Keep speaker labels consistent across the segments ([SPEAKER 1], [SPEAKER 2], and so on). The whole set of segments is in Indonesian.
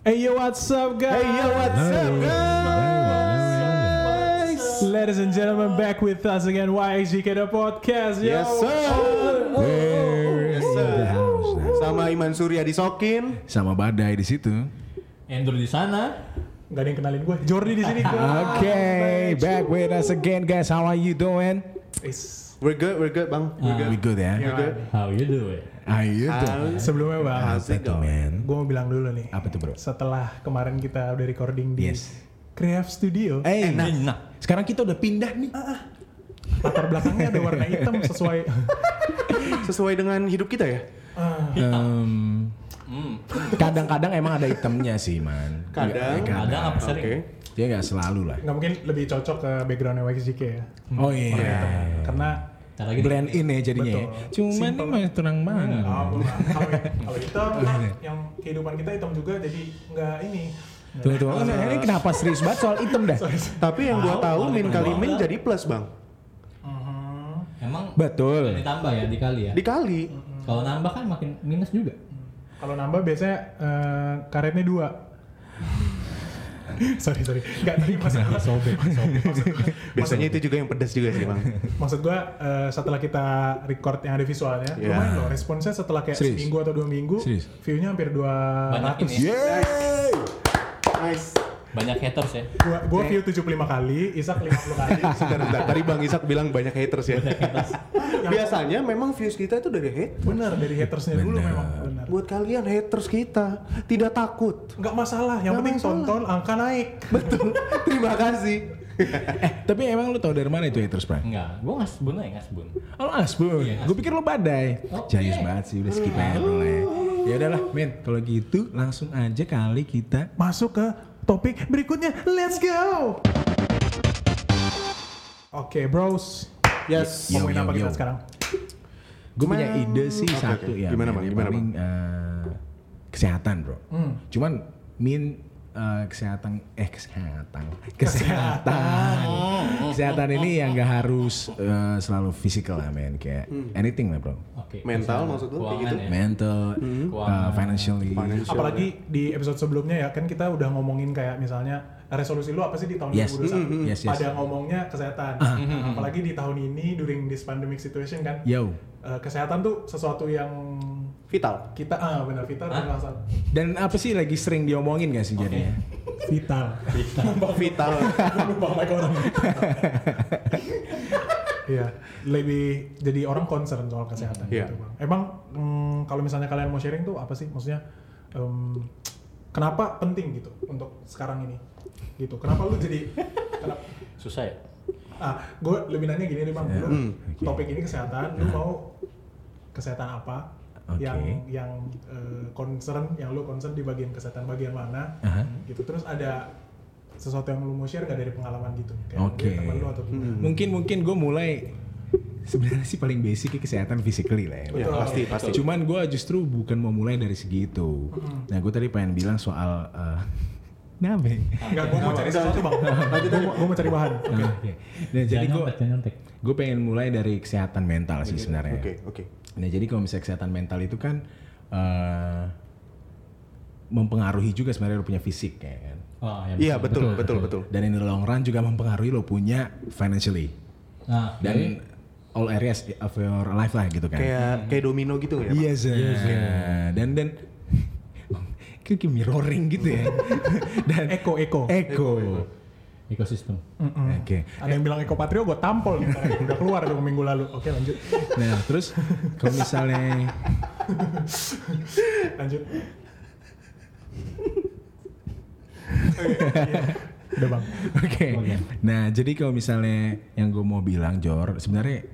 [SPEAKER 1] Hey yo, what's up guys?
[SPEAKER 2] Hey yo, what's up guys?
[SPEAKER 1] Ladies and gentlemen, back with us again, YXGK The Podcast. Yo.
[SPEAKER 2] Yes sir.
[SPEAKER 3] Where is
[SPEAKER 2] oh,
[SPEAKER 3] the
[SPEAKER 2] oh.
[SPEAKER 3] house?
[SPEAKER 2] Sama Iman Surya disokin.
[SPEAKER 3] Sama badai di situ.
[SPEAKER 4] Andrew di sana.
[SPEAKER 1] Gak ada yang kenalin gue. Jordi di sini gue.
[SPEAKER 3] Okay, back with us again, guys. How are you doing?
[SPEAKER 1] Is-
[SPEAKER 2] We're good, we're good bang. We're Ah, good.
[SPEAKER 3] We good ya? Ah,
[SPEAKER 2] We're good.
[SPEAKER 4] How you doing?
[SPEAKER 3] How you doing?
[SPEAKER 2] How's-
[SPEAKER 1] Sebelumnya bang,
[SPEAKER 2] How's it
[SPEAKER 3] Tuh,
[SPEAKER 2] going?
[SPEAKER 3] man.
[SPEAKER 1] gue mau bilang dulu nih.
[SPEAKER 3] Apa tuh bro?
[SPEAKER 1] Setelah kemarin kita udah recording di
[SPEAKER 3] Yes.
[SPEAKER 1] Creative Studio,
[SPEAKER 3] Eh,
[SPEAKER 4] Enak.
[SPEAKER 3] sekarang kita udah pindah nih.
[SPEAKER 1] latar belakangnya ada warna hitam sesuai.
[SPEAKER 2] Sesuai dengan hidup kita ya?
[SPEAKER 3] Em, Hmm. Kadang-kadang emang ada itemnya sih, man.
[SPEAKER 2] Kadang.
[SPEAKER 3] Ya, ya,
[SPEAKER 4] Kadang apa
[SPEAKER 2] Oke.
[SPEAKER 4] sering?
[SPEAKER 3] Ya nggak selalu lah.
[SPEAKER 1] Nggak mungkin lebih cocok ke backgroundnya YXGK ya.
[SPEAKER 3] Oh iya.
[SPEAKER 1] Karena
[SPEAKER 4] Ntar lagi
[SPEAKER 3] Blend in ya jadinya. ya.
[SPEAKER 1] Betul.
[SPEAKER 3] Cuman ini mah terang banget.
[SPEAKER 1] ah, belum lah. kalau kalau hitam, yang kehidupan kita hitam juga jadi nggak ini.
[SPEAKER 3] Tuh tuh. Oh, Ini kenapa serius banget soal item dah?
[SPEAKER 2] Tapi yang gua
[SPEAKER 4] Wow,
[SPEAKER 2] tahu
[SPEAKER 4] kalau
[SPEAKER 2] min
[SPEAKER 4] kita
[SPEAKER 2] kali
[SPEAKER 4] bawa.
[SPEAKER 2] min jadi plus bang.
[SPEAKER 3] Mm-hmm.
[SPEAKER 1] Mhm.
[SPEAKER 4] Emang
[SPEAKER 3] Betul.
[SPEAKER 4] ditambah ya dikali ya.
[SPEAKER 2] Dikali.
[SPEAKER 4] Kalau nambah kan makin minus juga.
[SPEAKER 1] Kalau nambah biasanya eh, karetnya dua. sorry sorry. Gak tadi maksud gua sobek.
[SPEAKER 2] Biasanya itu juga yang pedas juga sih bang.
[SPEAKER 1] Maksud gua eh, setelah kita record yang ada visualnya,
[SPEAKER 2] Iya.
[SPEAKER 1] lumayan loh responsnya setelah kayak
[SPEAKER 3] Serius.
[SPEAKER 1] seminggu atau dua minggu,
[SPEAKER 3] Serius.
[SPEAKER 1] view-nya hampir
[SPEAKER 2] Ah,
[SPEAKER 1] 200.
[SPEAKER 2] Iya.
[SPEAKER 4] Banyak ini. ya?
[SPEAKER 2] Yeay. Nice.
[SPEAKER 4] Banyak haters ya.
[SPEAKER 1] Gua, gua view 75 kali, Isak 50 kali.
[SPEAKER 2] Bentar, bentar. Tadi Bang Isak bilang banyak haters ya.
[SPEAKER 4] Haters.
[SPEAKER 2] Biasanya memang views kita itu dari hate.
[SPEAKER 1] Bener dari hatersnya dulu
[SPEAKER 3] Bener.
[SPEAKER 1] memang bener.
[SPEAKER 2] Buat kalian haters kita tidak takut.
[SPEAKER 1] Nggak masalah, yang
[SPEAKER 2] Nggak
[SPEAKER 1] penting
[SPEAKER 2] masalah.
[SPEAKER 1] tonton angka naik.
[SPEAKER 2] Betul. Terima kasih.
[SPEAKER 3] Eh, tapi emang lu tau dari mana itu haters, Prime?
[SPEAKER 4] Enggak, gua ngasbun aja ngasbun.
[SPEAKER 3] Oh, lu asbun.
[SPEAKER 4] Iya,
[SPEAKER 3] Gue pikir lu badai. iya.
[SPEAKER 4] Oke.
[SPEAKER 3] Oh, Jayus banget sih, udah skip aja bro lah ya. Ya udahlah, men. Kalau gitu langsung aja kali kita.
[SPEAKER 1] masuk ke topik berikutnya. Let's go. Oke, bros.
[SPEAKER 2] Yes.
[SPEAKER 3] Yo,
[SPEAKER 1] Ngomongin
[SPEAKER 3] yo,
[SPEAKER 1] apa kita
[SPEAKER 3] yo.
[SPEAKER 1] sekarang?
[SPEAKER 3] Gue punya ide sih
[SPEAKER 2] Oke,
[SPEAKER 3] satu
[SPEAKER 2] oke.
[SPEAKER 3] ya.
[SPEAKER 2] Gimana,
[SPEAKER 3] men.
[SPEAKER 2] Bang?
[SPEAKER 3] Yang
[SPEAKER 2] Gimana,
[SPEAKER 3] paling, eh, kesehatan, bro. Cuman min eh, kesehatan eh kesehatan Oh, kesehatan kesehatan ini yang gak harus eh, selalu fisikal lah men kayak
[SPEAKER 2] Hmm.
[SPEAKER 3] anything lah bro
[SPEAKER 4] Oke.
[SPEAKER 2] Mental maksud lu kayak gitu?
[SPEAKER 4] Keuangan ya.
[SPEAKER 3] mental eh,
[SPEAKER 4] Keuangan.
[SPEAKER 3] financially
[SPEAKER 2] Financial.
[SPEAKER 1] Apalagi
[SPEAKER 3] ya?
[SPEAKER 1] di episode sebelumnya ya, kan kita udah ngomongin kayak misalnya resolusi lu apa sih di tahun 2021?
[SPEAKER 3] Yes. Mm, mm, yes, Ah. yes.
[SPEAKER 1] Pada ngomongnya kesehatan. Apalagi di tahun ini during this pandemic situation kan,
[SPEAKER 3] yo
[SPEAKER 1] eh, kesehatan tuh sesuatu yang
[SPEAKER 2] Vital.
[SPEAKER 1] kita ah benar vital dan langsung
[SPEAKER 3] Dan apa sih lagi sering diomongin gak sih ya? jadinya?
[SPEAKER 1] vital.
[SPEAKER 2] Vital.
[SPEAKER 1] Lupa mic orang. Iya, lebih jadi orang concern soal kesehatan
[SPEAKER 2] Iya.
[SPEAKER 1] gitu, Bang. Emang mm, kalau misalnya kalian mau sharing tuh apa sih maksudnya em, kenapa penting gitu untuk sekarang ini? Gitu. Kenapa lu jadi kenapa-
[SPEAKER 4] Susah ya.
[SPEAKER 1] ah, gue lebih nanya gini nih Bang, lu
[SPEAKER 3] Hmm, oke. Nah.
[SPEAKER 1] topik ini kesehatan, lu mau kesehatan apa?
[SPEAKER 3] Oke.
[SPEAKER 1] Yang yang eh, concern, yang lu concern di bagian kesehatan bagian mana?
[SPEAKER 3] Aha.
[SPEAKER 1] gitu terus ada sesuatu yang lu mau share gak dari pengalaman gitu kayak
[SPEAKER 3] Oke. Hmm.
[SPEAKER 1] dari teman lu atau gimana
[SPEAKER 3] Mungkin mungkin gue mulai sebenarnya sih paling basic kesehatan physically lah ya.
[SPEAKER 2] Ya,
[SPEAKER 1] Betul.
[SPEAKER 2] pasti, pasti.
[SPEAKER 3] Cuman gue justru bukan mau mulai dari segitu. Nah gue tadi pengen bilang soal eh, kenapa? ya?
[SPEAKER 1] Enggak, gue mau cari sesuatu bang gue mau, gua mau cari bahan
[SPEAKER 3] Nah, oke. Nah jadi
[SPEAKER 4] Jangan
[SPEAKER 3] gue
[SPEAKER 4] nyontek, jangan nyontek.
[SPEAKER 3] gue pengen mulai dari kesehatan mental sih sebenarnya.
[SPEAKER 2] Oke, oke.
[SPEAKER 3] Nah jadi kalau misalnya kesehatan mental itu kan eh, mempengaruhi juga sebenarnya lo punya fisik ya kan.
[SPEAKER 4] Oh, ya,
[SPEAKER 2] Iya, betul, betul, betul.
[SPEAKER 3] Dan in the long run juga mempengaruhi lo punya financially.
[SPEAKER 4] Nah,
[SPEAKER 3] dan all areas of your life lah gitu kan.
[SPEAKER 2] Kayak kayak domino gitu ya. Pak?
[SPEAKER 3] Iya Zah. Dan dan kayak kayak mirroring gitu ya. dan
[SPEAKER 1] Eko Eko
[SPEAKER 3] echo.
[SPEAKER 4] ekosistem.
[SPEAKER 1] Mm-mm.
[SPEAKER 3] Oke.
[SPEAKER 1] ada yang bilang Eko Patrio gue tampol nih ntar. udah keluar dong minggu lalu oke lanjut
[SPEAKER 3] Nah terus kalau misalnya
[SPEAKER 1] lanjut Oke, iya. udah bang
[SPEAKER 3] Oke. Nah, jadi kalau misalnya yang gue mau bilang Jor, sebenarnya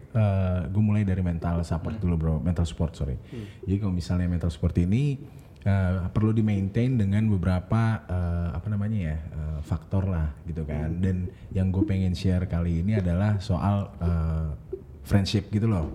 [SPEAKER 3] gue mulai dari mental support dulu bro, mental support sorry. Jadi kalau misalnya mental support ini eh, perlu di maintain dengan beberapa eh, apa namanya ya eh, faktor lah gitu kan. Dan yang gue pengen share kali ini adalah soal eh, friendship gitu loh.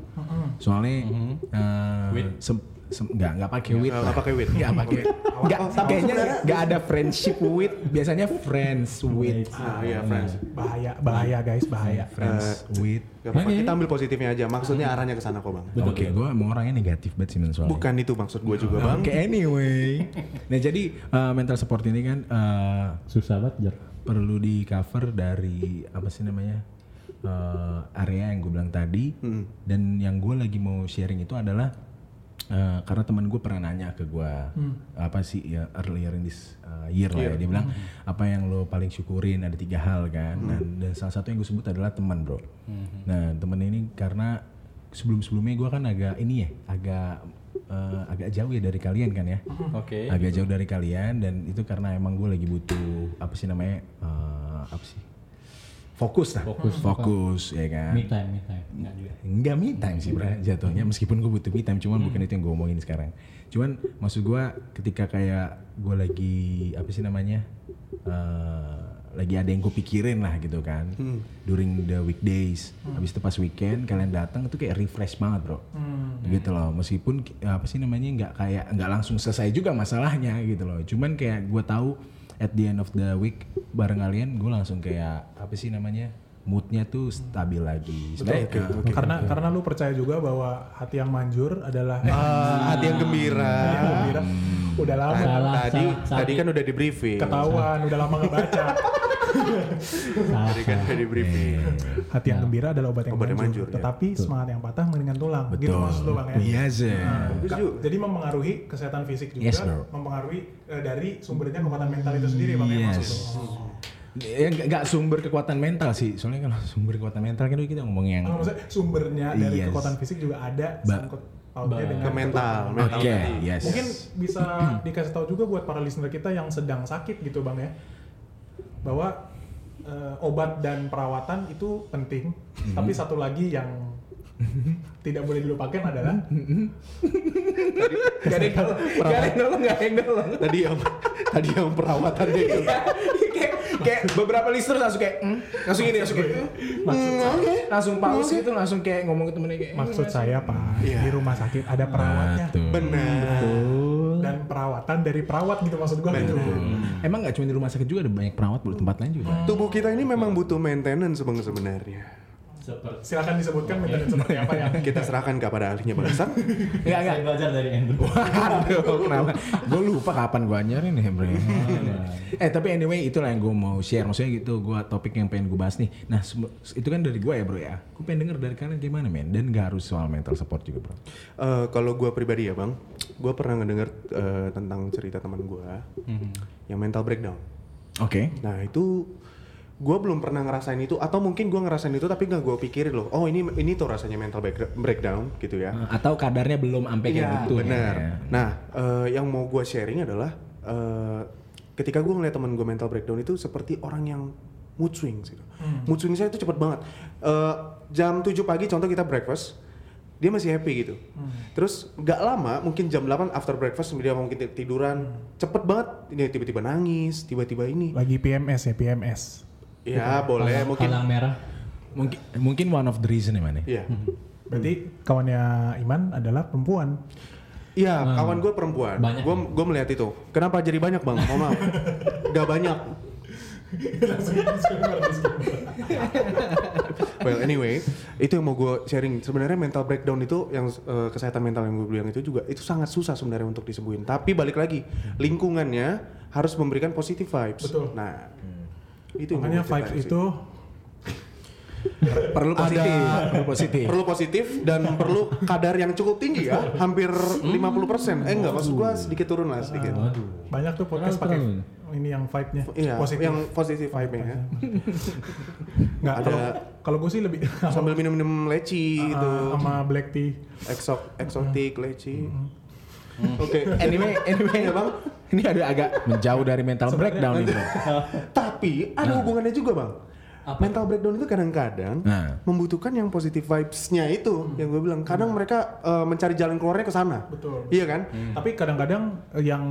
[SPEAKER 3] Soalnya eh,
[SPEAKER 4] With?
[SPEAKER 3] se- sem- nggak nggak pakai wit
[SPEAKER 2] Nggak
[SPEAKER 3] lah.
[SPEAKER 2] pakai wit.
[SPEAKER 3] nggak pakai nggak kayaknya nggak ada friendship with biasanya friends with
[SPEAKER 2] Ah, iya, friends.
[SPEAKER 1] bahaya bahaya guys bahaya
[SPEAKER 3] friends
[SPEAKER 2] Eh,
[SPEAKER 3] with
[SPEAKER 2] Gak apa-apa,
[SPEAKER 4] Oke.
[SPEAKER 2] kita ambil positifnya aja. Maksudnya arahnya ke sana kok, Bang.
[SPEAKER 4] Betul,
[SPEAKER 3] Oke, gue emang orangnya negatif banget sih men soalnya.
[SPEAKER 2] Bukan itu maksud gue juga, Bang.
[SPEAKER 3] Oke, anyway. Nah, jadi eh, mental support ini kan eh,
[SPEAKER 4] Susah banget, Jor.
[SPEAKER 3] perlu di cover dari apa sih namanya eh, area yang gue bilang tadi dan yang gue lagi mau sharing itu adalah eh, karena teman gue pernah nanya ke gue apa sih ya, earlier in this eh, year lah ya dia bilang apa yang lo paling syukurin ada tiga hal kan dan, dan salah satu yang gue sebut adalah teman bro nah teman ini karena sebelum sebelumnya gue kan agak ini ya agak eh, agak jauh ya dari kalian kan ya
[SPEAKER 4] Oke. gitu.
[SPEAKER 3] agak jauh dari kalian dan itu karena emang gue lagi butuh apa sih namanya eh, apa sih fokus lah
[SPEAKER 4] Fokus.
[SPEAKER 3] fokus ya kan
[SPEAKER 4] Me time, me time. Enggak juga.
[SPEAKER 3] nggak me time sih bro jatuhnya meskipun gue butuh me time cuman bukan
[SPEAKER 4] Hmm.
[SPEAKER 3] itu yang gue omongin sekarang cuman maksud gue ketika kayak gue lagi apa sih namanya eh, lagi ada yang gue pikirin lah gitu kan during the weekdays habis itu pas weekend kalian datang itu kayak refresh banget bro gitu loh meskipun ki- apa sih namanya nggak kayak nggak langsung selesai juga masalahnya gitu loh cuman kayak gue tahu at the end of the week bareng kalian gue langsung kayak apa sih namanya moodnya tuh stabil lagi Sebenarnya,
[SPEAKER 2] Oke,
[SPEAKER 3] eh,
[SPEAKER 2] oke.
[SPEAKER 1] karena karena lu percaya juga bahwa hati yang manjur adalah
[SPEAKER 2] Ah, hati yang gembira.
[SPEAKER 1] Gembira. udah
[SPEAKER 2] Ah,
[SPEAKER 1] lama
[SPEAKER 4] Salah,
[SPEAKER 2] tadi
[SPEAKER 4] salah.
[SPEAKER 2] tadi kan udah di briefing.
[SPEAKER 1] ketahuan udah lama nggak baca
[SPEAKER 4] Salah.
[SPEAKER 2] Tadi kan udah di briefing.
[SPEAKER 1] hati
[SPEAKER 3] Nah.
[SPEAKER 1] yang gembira adalah obat yang
[SPEAKER 2] Obat yang
[SPEAKER 1] manjur,
[SPEAKER 2] manjur, ya.
[SPEAKER 1] tetapi semangat yang patah mendingan tulang gitu maksud lu bang ya
[SPEAKER 3] Iya sih.
[SPEAKER 2] Bagus
[SPEAKER 1] Ka-
[SPEAKER 2] juga.
[SPEAKER 1] Jadi mempengaruhi kesehatan fisik juga,
[SPEAKER 3] Yes, bro.
[SPEAKER 1] mempengaruhi eh, dari sumbernya kekuatan mental itu sendiri, bang ya maksud
[SPEAKER 3] Yes.
[SPEAKER 1] lu.
[SPEAKER 3] Ya nggak- nggak sumber kekuatan mental sih. Soalnya kalau sumber kekuatan mental kan kita ngomong yang
[SPEAKER 1] Kalau maksudnya sumbernya dari
[SPEAKER 3] Yes.
[SPEAKER 1] kekuatan fisik juga ada
[SPEAKER 3] Ba-
[SPEAKER 1] sangkut pautnya dengan
[SPEAKER 2] Ke mental, mental
[SPEAKER 3] Oke,
[SPEAKER 2] tadi.
[SPEAKER 3] yes.
[SPEAKER 1] Mungkin bisa dikasih tahu juga buat para listener kita yang sedang sakit gitu bang ya, bahwa eh, obat dan perawatan itu penting,
[SPEAKER 2] Mm-hmm.
[SPEAKER 1] tapi satu lagi yang tidak boleh dilupakan adalah
[SPEAKER 2] Mm-hmm.
[SPEAKER 3] Gak ada yang nolong, gak ada yang nolong, gak ada yang nolong.
[SPEAKER 2] Tadi yang tadi yang perawatan dia itu.
[SPEAKER 3] Iya. kayak, kayak beberapa listener langsung kayak, "Hmm?" langsung ini langsung kayak, "Hmm?" langsung pause gitu, langsung kayak ngomong ke temennya kayak, "Hmm."
[SPEAKER 1] maksud saya pak
[SPEAKER 2] Iya.
[SPEAKER 1] di rumah sakit ada perawatnya
[SPEAKER 2] Benar.
[SPEAKER 1] dan perawatan dari perawat gitu maksud gua gitu.
[SPEAKER 3] Emang gak cuma di rumah sakit juga ada banyak perawat di tempat lain juga.
[SPEAKER 2] Tubuh kita ini memang butuh maintenance Bang sebenarnya.
[SPEAKER 4] Seperti
[SPEAKER 1] Silakan disebutkan
[SPEAKER 2] Iya.
[SPEAKER 1] metode seperti apa ya. yang
[SPEAKER 2] Kita serahkan kepada ahlinya Bang Sam.
[SPEAKER 3] Enggak, enggak.
[SPEAKER 4] saya belajar dari Andrew.
[SPEAKER 3] Aduh, kenapa? gue lupa kapan gue anjarin ya, Bre. eh, tapi anyway, itulah yang gue mau share. Maksudnya gitu, gue topik yang pengen gue bahas nih. Nah, sem- itu kan dari gue ya, bro ya. Gue pengen denger dari kalian gimana, men. Dan gak harus soal mental support juga, bro.
[SPEAKER 2] Eh, kalau gue pribadi ya bang, gue pernah ngedenger eh, tentang cerita teman gue yang mental breakdown.
[SPEAKER 3] Oke.
[SPEAKER 2] Nah itu gue belum pernah ngerasain itu atau mungkin gue ngerasain itu tapi nggak gue pikirin loh. Oh ini ini tuh rasanya mental break- breakdown gitu ya.
[SPEAKER 3] Atau kadarnya belum sampai kayak
[SPEAKER 2] Iya
[SPEAKER 3] gitu.
[SPEAKER 2] benar.
[SPEAKER 3] ya.
[SPEAKER 2] Nah eh, yang mau gue sharing adalah eh, ketika gue ngeliat teman gue mental breakdown itu seperti orang yang mood swings gitu. Mood swing saya itu cepet banget. Eh, jam 7 pagi contoh kita breakfast dia masih happy gitu. Terus nggak lama mungkin jam 8 after breakfast dia mungkin tiduran cepet banget dia tiba-tiba nangis tiba-tiba ini.
[SPEAKER 1] lagi PMS ya PMS.
[SPEAKER 2] Ya boleh
[SPEAKER 4] Palang-
[SPEAKER 2] mungkin.
[SPEAKER 4] Palang merah.
[SPEAKER 3] Mungkin mungkin one of the reason ya, man. ya?
[SPEAKER 2] Iya.
[SPEAKER 1] Berarti kawannya Iman adalah perempuan.
[SPEAKER 2] Iya, kawan gue perempuan.
[SPEAKER 4] Banyak
[SPEAKER 2] Gue gue melihat itu. Kenapa jadi banyak bang? Mohon maaf. Gak banyak. well anyway, itu yang mau gue sharing. Sebenarnya mental breakdown itu yang eh, kesehatan mental yang gue bilang itu juga itu sangat susah sebenarnya untuk disembuhin. Tapi balik lagi lingkungannya harus memberikan positive vibes.
[SPEAKER 1] Betul. Hmm.
[SPEAKER 2] Nah, itu yang
[SPEAKER 1] Makanya
[SPEAKER 2] gua ceritain
[SPEAKER 1] vibes
[SPEAKER 2] sih.
[SPEAKER 1] itu
[SPEAKER 2] perlu positif.
[SPEAKER 3] Ada- perlu positif.
[SPEAKER 2] perlu positif dan perlu kadar yang cukup tinggi ya, hampir 50%. Eh enggak, maksud gue sedikit turun lah sedikit.
[SPEAKER 1] Ah,
[SPEAKER 4] Waduh.
[SPEAKER 1] banyak tuh podcast
[SPEAKER 4] Kenapa
[SPEAKER 1] pakai
[SPEAKER 4] terlalu?
[SPEAKER 1] ini yang vibe-nya
[SPEAKER 2] Iya,
[SPEAKER 1] positif.
[SPEAKER 2] yang positif vibe-nya ya.
[SPEAKER 1] Nggak,
[SPEAKER 2] Ada-
[SPEAKER 1] kalau kalau gue sih lebih
[SPEAKER 2] Sambil minum-minum leci gitu,
[SPEAKER 1] sama black tea.
[SPEAKER 2] eksok eksotik
[SPEAKER 1] Hmm.
[SPEAKER 2] leci. Oke.
[SPEAKER 3] Anyway,
[SPEAKER 2] Iya,
[SPEAKER 3] anyway ya, bang. Ini ada agak menjauh dari mental breakdown nih, bro.
[SPEAKER 2] Tapi ada hubungannya juga, Bang.
[SPEAKER 4] Apa?
[SPEAKER 2] mental breakdown itu kadang-kadang
[SPEAKER 3] Nah.
[SPEAKER 2] membutuhkan yang positive vibes-nya itu yang gue bilang. Kadang mereka eh, mencari jalan keluarnya ke sana.
[SPEAKER 1] Betul. Hmm.
[SPEAKER 2] Iya kan?
[SPEAKER 1] Tapi kadang-kadang eh, yang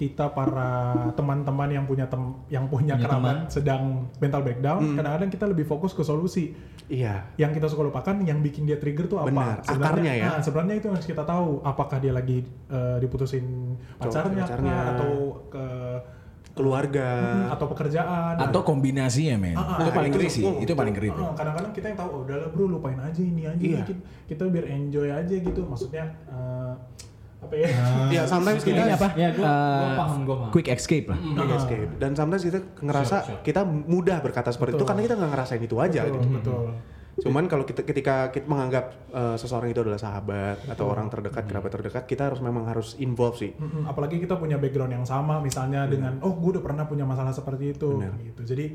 [SPEAKER 1] kita para teman-teman yang punya tem- yang punya,
[SPEAKER 4] Punya
[SPEAKER 1] kerabat
[SPEAKER 4] teman.
[SPEAKER 1] sedang mental breakdown,
[SPEAKER 2] Hmm.
[SPEAKER 1] kadang-kadang kita lebih fokus ke solusi.
[SPEAKER 2] Iya.
[SPEAKER 1] Yang kita suka lupakan yang bikin dia trigger tuh apa?
[SPEAKER 2] Benar, akarnya ya.
[SPEAKER 1] ah, sebenarnya itu yang harus kita tahu apakah dia lagi eh, diputusin pacarnya, kah,
[SPEAKER 2] pacarnya. Hmm.
[SPEAKER 1] atau ke
[SPEAKER 2] Keluarga.
[SPEAKER 1] atau pekerjaan
[SPEAKER 3] Atau kombinasinya men.
[SPEAKER 1] Ah, ah,
[SPEAKER 3] Iya. itu
[SPEAKER 1] ah,
[SPEAKER 3] paling
[SPEAKER 2] itu
[SPEAKER 3] ngeri
[SPEAKER 2] juga.
[SPEAKER 3] sih.
[SPEAKER 2] Oh,
[SPEAKER 3] Itu paling ngeri. bro.
[SPEAKER 1] Ah, kadang-kadang kita yang tahu oh udahlah bro lupain aja ini aja
[SPEAKER 2] Iya.
[SPEAKER 1] kita, kita biar enjoy aja gitu maksudnya eh, apa ya
[SPEAKER 2] Iya, sometimes
[SPEAKER 4] Ini
[SPEAKER 2] kita Iya,
[SPEAKER 4] apa? Ya, gua- gua
[SPEAKER 3] Eh,
[SPEAKER 4] paham, gua paham.
[SPEAKER 3] Quick escape lah.
[SPEAKER 2] Big escape. Dan sometimes kita ngerasa
[SPEAKER 4] Sure, sure.
[SPEAKER 2] kita mudah berkata seperti itu
[SPEAKER 1] Betul.
[SPEAKER 2] karena kita nggak ngerasain itu aja.
[SPEAKER 1] betul,
[SPEAKER 2] gitu.
[SPEAKER 1] betul.
[SPEAKER 2] Cuman kalau kita ketika kita menganggap eh, seseorang itu adalah sahabat atau orang terdekat, kerabat terdekat, kita harus memang harus involve sih.
[SPEAKER 1] Mm-mm, apalagi kita punya background yang sama
[SPEAKER 2] Iya.
[SPEAKER 1] misalnya dengan oh gue udah pernah punya masalah seperti itu
[SPEAKER 2] Benar.
[SPEAKER 1] gitu jadi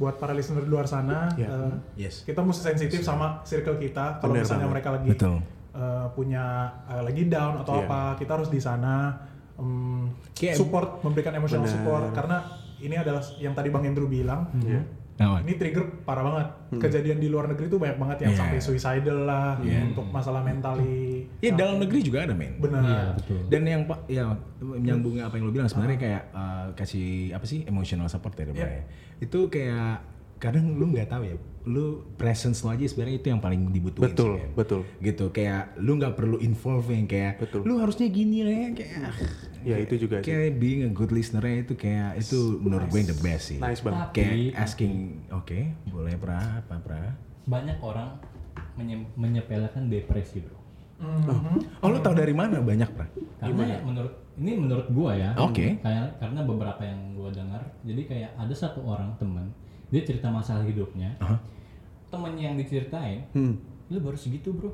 [SPEAKER 1] buat para listener di luar sana
[SPEAKER 2] Iya.
[SPEAKER 1] eh,
[SPEAKER 3] Yes.
[SPEAKER 1] kita mesti sensitif sama circle kita kalau
[SPEAKER 2] Benar
[SPEAKER 1] misalnya
[SPEAKER 2] banget.
[SPEAKER 1] mereka lagi
[SPEAKER 3] Betul.
[SPEAKER 1] eh, punya eh, lagi down atau
[SPEAKER 2] Iya.
[SPEAKER 1] apa kita harus di sana em,
[SPEAKER 3] Kayak-
[SPEAKER 1] support memberikan emotional
[SPEAKER 2] Benar.
[SPEAKER 1] support karena ini adalah yang tadi bang Andrew bilang
[SPEAKER 2] Iya.
[SPEAKER 3] Nah,
[SPEAKER 1] ini trigger parah banget kejadian di luar negeri tuh banyak banget yang
[SPEAKER 3] Iya.
[SPEAKER 1] sampai suicidal lah
[SPEAKER 3] Iya.
[SPEAKER 1] untuk masalah mentali
[SPEAKER 3] ya dalam negeri juga ada men.
[SPEAKER 1] benar
[SPEAKER 4] Iya, betul.
[SPEAKER 3] Dan yang pak, ya menyambung apa yang lo bilang sebenarnya kayak eh, kasih apa sih emotional support ya, Bang, ya. Itu kayak kadang lu nggak tahu ya, lu presence lo aja sebenarnya itu yang paling dibutuhin.
[SPEAKER 2] Betul,
[SPEAKER 3] sih, men.
[SPEAKER 2] betul.
[SPEAKER 3] Gitu kayak lu nggak perlu involve yang kayak
[SPEAKER 2] Betul.
[SPEAKER 3] lu harusnya gini lah ya kayak.
[SPEAKER 2] Ya, itu juga sih.
[SPEAKER 3] Kayak being a good listener ya itu kayak itu menurut gue yang the best sih.
[SPEAKER 2] Nice banget.
[SPEAKER 3] Kayak asking, oke, boleh pra apa pra?
[SPEAKER 4] Banyak orang menye- menyepelekan depresi, bro.
[SPEAKER 2] Mhm.
[SPEAKER 3] Oh, lu tahu dari mana banyak pra?
[SPEAKER 4] Karena menurut ini menurut gua ya.
[SPEAKER 3] Oke.
[SPEAKER 4] Kayak karena beberapa yang gua dengar, jadi kayak ada satu orang temen dia cerita masalah hidupnya. Temen yang diceritain, lu baru segitu bro.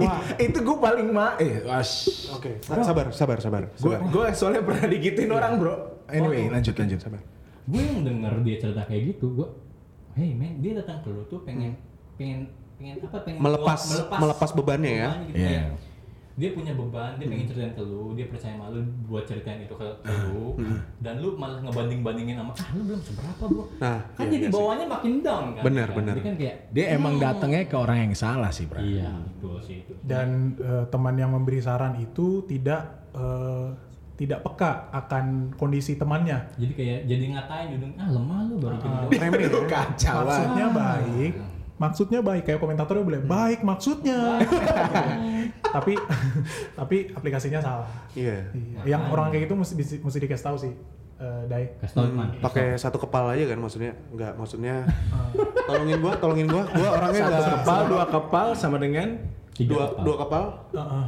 [SPEAKER 3] Ih, itu gue paling ma eh as
[SPEAKER 2] Oke. Nah, sabar, sabar, sabar.
[SPEAKER 3] Gue
[SPEAKER 2] sabar.
[SPEAKER 3] gue soalnya pernah digituin orang bro. Anyway, lanjut lanjut. Sabar.
[SPEAKER 4] gue yang denger dia cerita kayak gitu, gua, hey man, dia datang ke lu tuh pengen pengen pengen apa? Pengen
[SPEAKER 2] Melepas- melepas bebannya ya. Hmm.
[SPEAKER 4] Bebannya gitu,
[SPEAKER 3] Iya.
[SPEAKER 4] kayak Dia punya beban, dia pengen ceritain ke lu, dia percaya sama lu buat ceritain itu ke ke lu,
[SPEAKER 2] Hmm.
[SPEAKER 4] dan lu malah ngebanding-bandingin sama, ah lu belum seberapa bro,
[SPEAKER 2] Nah,
[SPEAKER 4] kan
[SPEAKER 2] iya,
[SPEAKER 4] jadi
[SPEAKER 2] iya sih.
[SPEAKER 4] bawahnya makin down kan,
[SPEAKER 2] Benar,
[SPEAKER 4] kan?
[SPEAKER 2] benar.
[SPEAKER 4] Dia kan kayak
[SPEAKER 3] Dia emang datangnya ke orang yang salah sih bro.
[SPEAKER 4] Iya, betul sih itu.
[SPEAKER 1] dan eh, teman yang memberi saran itu tidak eh, tidak peka akan kondisi temannya. Eh,
[SPEAKER 4] Jadi kayak jadi ngatain judung, ah lemah lu baru gini doang."
[SPEAKER 2] Remeh ya.
[SPEAKER 3] Itu kacau lah.
[SPEAKER 1] gitu. Maksudnya baik, maksudnya baik kayak komentatornya boleh baik maksudnya. tapi tapi aplikasinya salah.
[SPEAKER 2] Iya.
[SPEAKER 1] Iya. Yang orang kayak gitu mesti mesti- mesti dikasih tahu sih. eh, Dai.
[SPEAKER 4] Kasih tau Man.
[SPEAKER 2] Pakai satu kepala aja kan maksudnya? Enggak, maksudnya tolongin gua, tolongin gua. Gua orangnya
[SPEAKER 3] Satu
[SPEAKER 2] enggak
[SPEAKER 3] kepal, dua kepal sama dengan
[SPEAKER 4] Tiga
[SPEAKER 2] dua
[SPEAKER 4] apa?
[SPEAKER 2] dua kepal,
[SPEAKER 1] Heeh.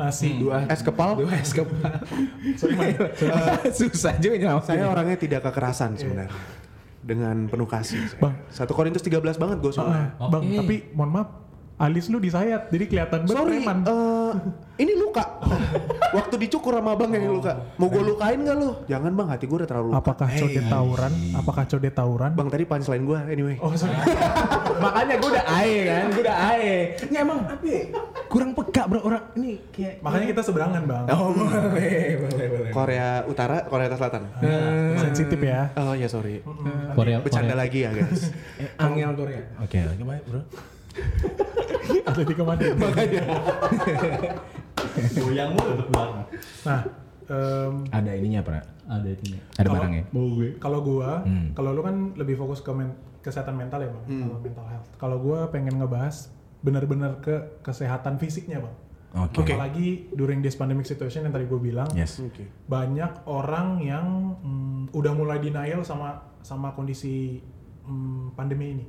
[SPEAKER 1] nasi.
[SPEAKER 3] dua
[SPEAKER 2] es kepal.
[SPEAKER 3] dua es kepal. Susah juga nyelamatin.
[SPEAKER 2] Saya orangnya tidak kekerasan sebenarnya. Dengan penuh kasih.
[SPEAKER 1] Bang. Ah.
[SPEAKER 2] Satu Korintus 13 banget
[SPEAKER 1] Heeh.
[SPEAKER 2] gue soalnya.
[SPEAKER 1] Bang,
[SPEAKER 4] Oke.
[SPEAKER 1] tapi mohon maaf, alis lu disayat jadi kelihatan banget
[SPEAKER 2] Sorry,
[SPEAKER 1] preman.
[SPEAKER 2] eh, ini luka. Waktu dicukur sama abang yang luka. Mau gue lukain gak lu? Jangan bang, hati gue udah terlalu luka.
[SPEAKER 1] Apakah code tawuran? Apakah code tawuran?
[SPEAKER 2] Bang tadi punchline gue anyway.
[SPEAKER 1] Oh, sorry.
[SPEAKER 3] Makanya gue udah ae kan, gue udah ae. Nggak emang apa? ya? Kurang peka bro orang ini kayak.
[SPEAKER 1] Makanya kita seberangan, Bang.
[SPEAKER 3] Oh boleh boleh boleh. Nah,
[SPEAKER 2] Korea Utara, Korea Selatan.
[SPEAKER 3] Ah.
[SPEAKER 1] Sensitif ya.
[SPEAKER 2] Oh ya sorry.
[SPEAKER 4] Korea,
[SPEAKER 2] Bercanda
[SPEAKER 4] Korea.
[SPEAKER 2] lagi ya guys.
[SPEAKER 3] Eh, Angel Korea. Oke, oke baik bro.
[SPEAKER 1] Atletico Madrid.
[SPEAKER 4] Goyang mulu tuh keluar.
[SPEAKER 1] Nah, em,
[SPEAKER 3] Ada ininya pra?
[SPEAKER 4] Ada itu nih.
[SPEAKER 3] Ada
[SPEAKER 1] Kalau-
[SPEAKER 3] barangnya? Hmm.
[SPEAKER 4] Mau gue.
[SPEAKER 1] kalau gua, kalau lu kan lebih fokus ke men- kesehatan mental ya, Bang, kalau mental health. Kalau gua pengen ngebahas benar-benar ke kesehatan fisiknya, Bang.
[SPEAKER 3] Oke.
[SPEAKER 1] Apalagi during this pandemic situation yang tadi gua bilang,
[SPEAKER 3] Yes.
[SPEAKER 2] Oke.
[SPEAKER 1] banyak orang yang mm, udah mulai denial sama sama kondisi mm, pandemi ini.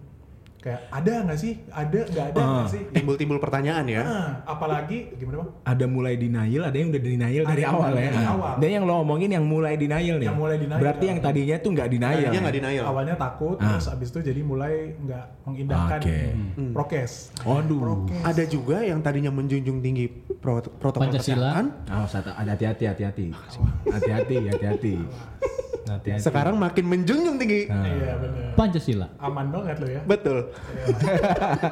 [SPEAKER 1] Kayak ada nggak sih? Ada nggak ada nggak
[SPEAKER 3] Ah.
[SPEAKER 1] sih?
[SPEAKER 2] Timbul-timbul pertanyaan ya.
[SPEAKER 1] Nah, apalagi gimana, Bang?
[SPEAKER 3] ada mulai denial, ada yang udah denial dari
[SPEAKER 1] Ada yang
[SPEAKER 3] awal
[SPEAKER 1] mulai
[SPEAKER 3] ya.
[SPEAKER 1] dari awal.
[SPEAKER 3] Dan yang lo omongin yang mulai denial nih.
[SPEAKER 1] Yang mulai denial.
[SPEAKER 3] Berarti yang tadinya tuh nggak
[SPEAKER 1] Ah, iya,
[SPEAKER 3] denial.
[SPEAKER 2] Tadinya
[SPEAKER 3] ya?
[SPEAKER 2] nggak denial.
[SPEAKER 1] Awalnya takut,
[SPEAKER 3] Ah.
[SPEAKER 1] terus abis itu jadi mulai nggak mengindahkan
[SPEAKER 3] Oke.
[SPEAKER 1] mm,
[SPEAKER 4] Hmm.
[SPEAKER 1] prokes.
[SPEAKER 3] Waduh.
[SPEAKER 2] Ada juga yang tadinya menjunjung tinggi pro- protokol
[SPEAKER 4] Pancasila.
[SPEAKER 2] kesehatan,
[SPEAKER 3] Awas, hati- Ah, hati-hati, hati-hati. Hati-hati, hati-hati. Hati-hati.
[SPEAKER 2] sekarang makin menjunjung tinggi.
[SPEAKER 1] Iya benar.
[SPEAKER 4] Pancasila.
[SPEAKER 1] Aman banget lo ya.
[SPEAKER 2] Betul.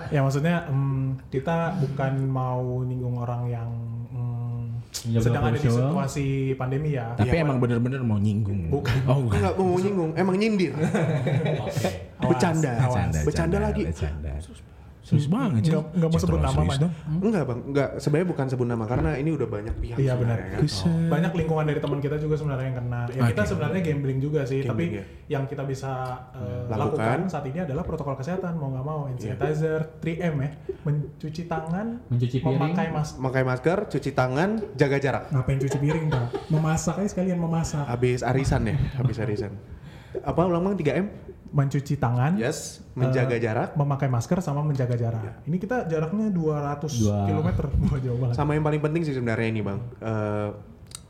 [SPEAKER 1] ya maksudnya mm, kita bukan mau nyinggung orang yang mm,
[SPEAKER 4] Menjaga
[SPEAKER 1] sedang ada di
[SPEAKER 4] visual.
[SPEAKER 1] situasi pandemi ya.
[SPEAKER 3] Tapi emang bener-bener mau nyinggung.
[SPEAKER 1] Bukan.
[SPEAKER 3] Oh, Iya. bukan.
[SPEAKER 2] Enggak mau nyinggung, emang nyindir.
[SPEAKER 4] Oke.
[SPEAKER 1] Awas,
[SPEAKER 2] Bercanda.
[SPEAKER 1] awas.
[SPEAKER 2] Bercanda, lagi.
[SPEAKER 3] Bercanda. Serius banget.
[SPEAKER 1] Hmm, Nggak-
[SPEAKER 3] Cil.
[SPEAKER 1] nggak mau
[SPEAKER 3] Cil,
[SPEAKER 1] sebut
[SPEAKER 3] tolong
[SPEAKER 1] nama,
[SPEAKER 3] serius
[SPEAKER 1] Man.
[SPEAKER 3] dong.
[SPEAKER 2] Enggak bang, enggak. Sebenarnya bukan sebut nama karena ini udah banyak pihak.
[SPEAKER 1] Iya,
[SPEAKER 2] sebenarnya,
[SPEAKER 1] benar.
[SPEAKER 2] kan?
[SPEAKER 3] Kuset.
[SPEAKER 1] Banyak lingkungan dari teman kita juga sebenarnya yang kena. Ya kita sebenarnya gambling juga sih, tapi
[SPEAKER 2] Gambling, ya.
[SPEAKER 1] yang kita bisa eh,
[SPEAKER 2] Lakukan.
[SPEAKER 1] lakukan saat ini adalah protokol kesehatan mau nggak mau hand sanitizer, 3M ya, mencuci tangan,
[SPEAKER 4] Mencuci piring.
[SPEAKER 1] memakai masker.
[SPEAKER 2] Pakai masker, cuci tangan, jaga jarak.
[SPEAKER 5] Ngapain cuci piring, Pak? Memasak aja sekalian memasak.
[SPEAKER 2] Habis arisan ya, habis arisan. Apa ulang bang 3M?
[SPEAKER 1] mencuci tangan,
[SPEAKER 2] Yes, menjaga
[SPEAKER 1] eh,
[SPEAKER 2] jarak.
[SPEAKER 1] memakai masker sama menjaga jarak. Ini kita jaraknya 200
[SPEAKER 4] Dua.
[SPEAKER 1] km, Wah, jauh banget.
[SPEAKER 2] Sama yang paling penting sih sebenarnya ini bang. Eh,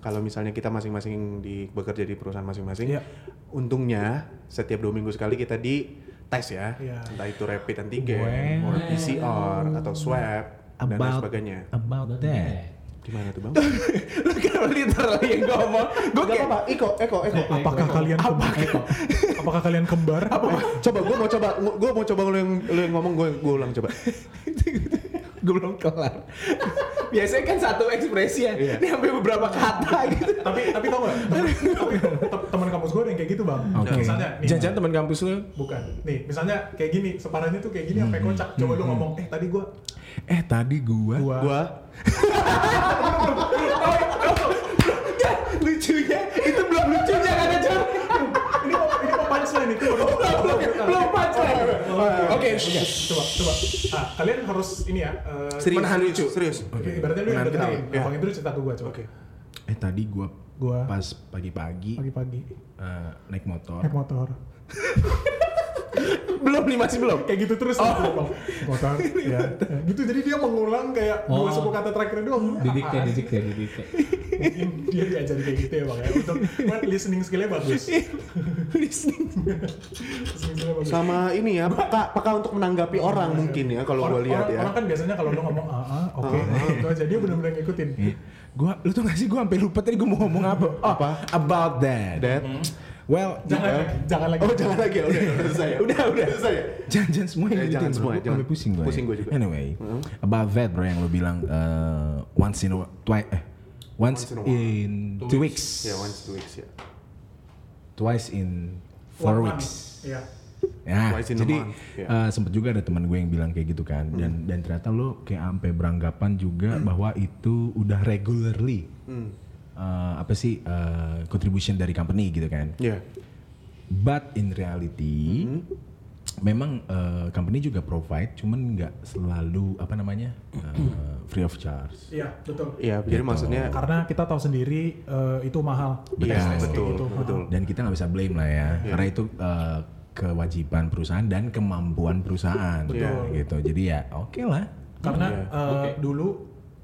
[SPEAKER 2] kalau misalnya kita masing-masing di bekerja di perusahaan masing-masing,
[SPEAKER 1] Iya.
[SPEAKER 2] untungnya setiap dua minggu sekali kita di tes ya,
[SPEAKER 1] Iya.
[SPEAKER 2] entah itu rapid antigen, or PCR atau swab dan lain
[SPEAKER 3] About-
[SPEAKER 2] sebagainya.
[SPEAKER 3] About that.
[SPEAKER 2] Gimana tuh bang?
[SPEAKER 3] Lu kenapa literally yang ngomong?
[SPEAKER 2] Gue kayak apa? Iko, Eko, Eko.
[SPEAKER 1] Apakah kalian kembar? Apakah kalian kembar?
[SPEAKER 2] Coba, gue mau coba, gue mau coba lu yang, lu yang ngomong, gue gue ulang coba.
[SPEAKER 3] Gue belum kelar. Biasanya kan satu ekspresi ya.
[SPEAKER 1] Iya.
[SPEAKER 3] Ini sampai beberapa kata gitu.
[SPEAKER 1] tapi tapi tau gak? Tapi te- teman kampus gue ada yang kayak gitu bang.
[SPEAKER 3] Oke.
[SPEAKER 1] Misalnya nih,
[SPEAKER 3] Jangan-jangan teman kampus lu.
[SPEAKER 1] bukan. Nih misalnya kayak gini, separahnya tuh kayak gini sampai kocak. Coba lu ngomong, eh tadi gue
[SPEAKER 3] Eh tadi gua.
[SPEAKER 1] gua
[SPEAKER 2] Gue
[SPEAKER 3] Lucunya itu belum lucunya kan aja.
[SPEAKER 1] Ah, ini mau ini mau punchline itu Oh, belum Oh,
[SPEAKER 3] Belum punchline. Oke.
[SPEAKER 1] coba coba ah kalian harus ini ya eh,
[SPEAKER 2] serius,
[SPEAKER 3] Menahan
[SPEAKER 2] serius,
[SPEAKER 3] lucu.
[SPEAKER 2] serius.
[SPEAKER 1] Oh, ibaratnya lu yang
[SPEAKER 2] Menahan
[SPEAKER 1] dengerin
[SPEAKER 2] ketawa, ya.
[SPEAKER 1] bang Indra cerita ke gua coba
[SPEAKER 2] Oke.
[SPEAKER 3] Eh tadi gua
[SPEAKER 1] oh. Gua.
[SPEAKER 3] pas pagi-pagi
[SPEAKER 1] pagi-pagi
[SPEAKER 3] eh, naik motor.
[SPEAKER 1] naik motor
[SPEAKER 3] belum nih masih belum.
[SPEAKER 1] kayak gitu terus
[SPEAKER 2] Oh.
[SPEAKER 1] gitu, Bang. motor ya ya. gitu jadi dia mengulang kayak dua
[SPEAKER 4] Oh.
[SPEAKER 1] sepuluh kata terakhir doang
[SPEAKER 4] Didikte,
[SPEAKER 1] Ah,
[SPEAKER 4] didikte, didikte.
[SPEAKER 1] mungkin dia diajari kayak gitu ya bang ya untuk buat listening skillnya bagus listening skillnya bagus
[SPEAKER 2] Sama ini ya, peka, peka untuk menanggapi orang mungkin ya kalau gue
[SPEAKER 1] Orang-
[SPEAKER 2] lihat
[SPEAKER 1] orang-
[SPEAKER 2] ya.
[SPEAKER 1] orang kan biasanya kalau lu ngomong ah ah, oke ah, gitu aja dia benar-benar ngikutin
[SPEAKER 2] Iya.
[SPEAKER 3] Gua, lu tuh gak sih gua sampai lupa tadi gua mau ngomong apa? Oh,
[SPEAKER 2] Apa?
[SPEAKER 3] About
[SPEAKER 1] kan-
[SPEAKER 3] that.
[SPEAKER 2] Dad.
[SPEAKER 1] Hmm.
[SPEAKER 3] Well,
[SPEAKER 1] jangan lagi, jangan lagi
[SPEAKER 2] Oh jangan lagi ya, udah udah selesai. ya. Udah udah selesai. ya?
[SPEAKER 3] Jangan-jangan semua yang
[SPEAKER 2] Eh,
[SPEAKER 3] ngikutin,
[SPEAKER 2] jangan
[SPEAKER 3] bro.
[SPEAKER 2] semua,
[SPEAKER 3] Gua
[SPEAKER 2] jangan.
[SPEAKER 3] sampai pusing gue.
[SPEAKER 2] Pusing gua juga. Hmm.
[SPEAKER 3] Anyway, about that bro yang lo bilang eh, once in a wh- twice eh once,
[SPEAKER 2] Once in a while.
[SPEAKER 3] in two weeks,
[SPEAKER 2] Ya once two weeks ya.
[SPEAKER 3] twice in four weeks.
[SPEAKER 1] ya
[SPEAKER 3] Ya,
[SPEAKER 2] Twice in a
[SPEAKER 3] jadi
[SPEAKER 2] month, Hmm. ya.
[SPEAKER 3] eh, sempet juga ada teman gue yang bilang kayak gitu kan, dan dan ternyata lo kayak sampai beranggapan juga
[SPEAKER 2] Hmm.
[SPEAKER 3] bahwa itu udah regularly eh, apa sih eh, contribution dari company gitu kan.
[SPEAKER 2] Iya.
[SPEAKER 3] But in reality, memang eh, company juga provide, cuman nggak selalu apa namanya eh, free of charge.
[SPEAKER 1] iya betul
[SPEAKER 2] Iya, jadi maksudnya
[SPEAKER 1] karena kita tahu sendiri eh, itu mahal
[SPEAKER 3] Betul,
[SPEAKER 1] Tes-tes kayak
[SPEAKER 2] Iya, betul,
[SPEAKER 1] gitu.
[SPEAKER 2] betul.
[SPEAKER 3] Dan kita nggak bisa blame lah ya, karena itu eh, kewajiban perusahaan dan kemampuan perusahaan,
[SPEAKER 2] Betul.
[SPEAKER 3] gitu. Jadi ya oke lah.
[SPEAKER 1] karena
[SPEAKER 2] Iya.
[SPEAKER 1] eh, dulu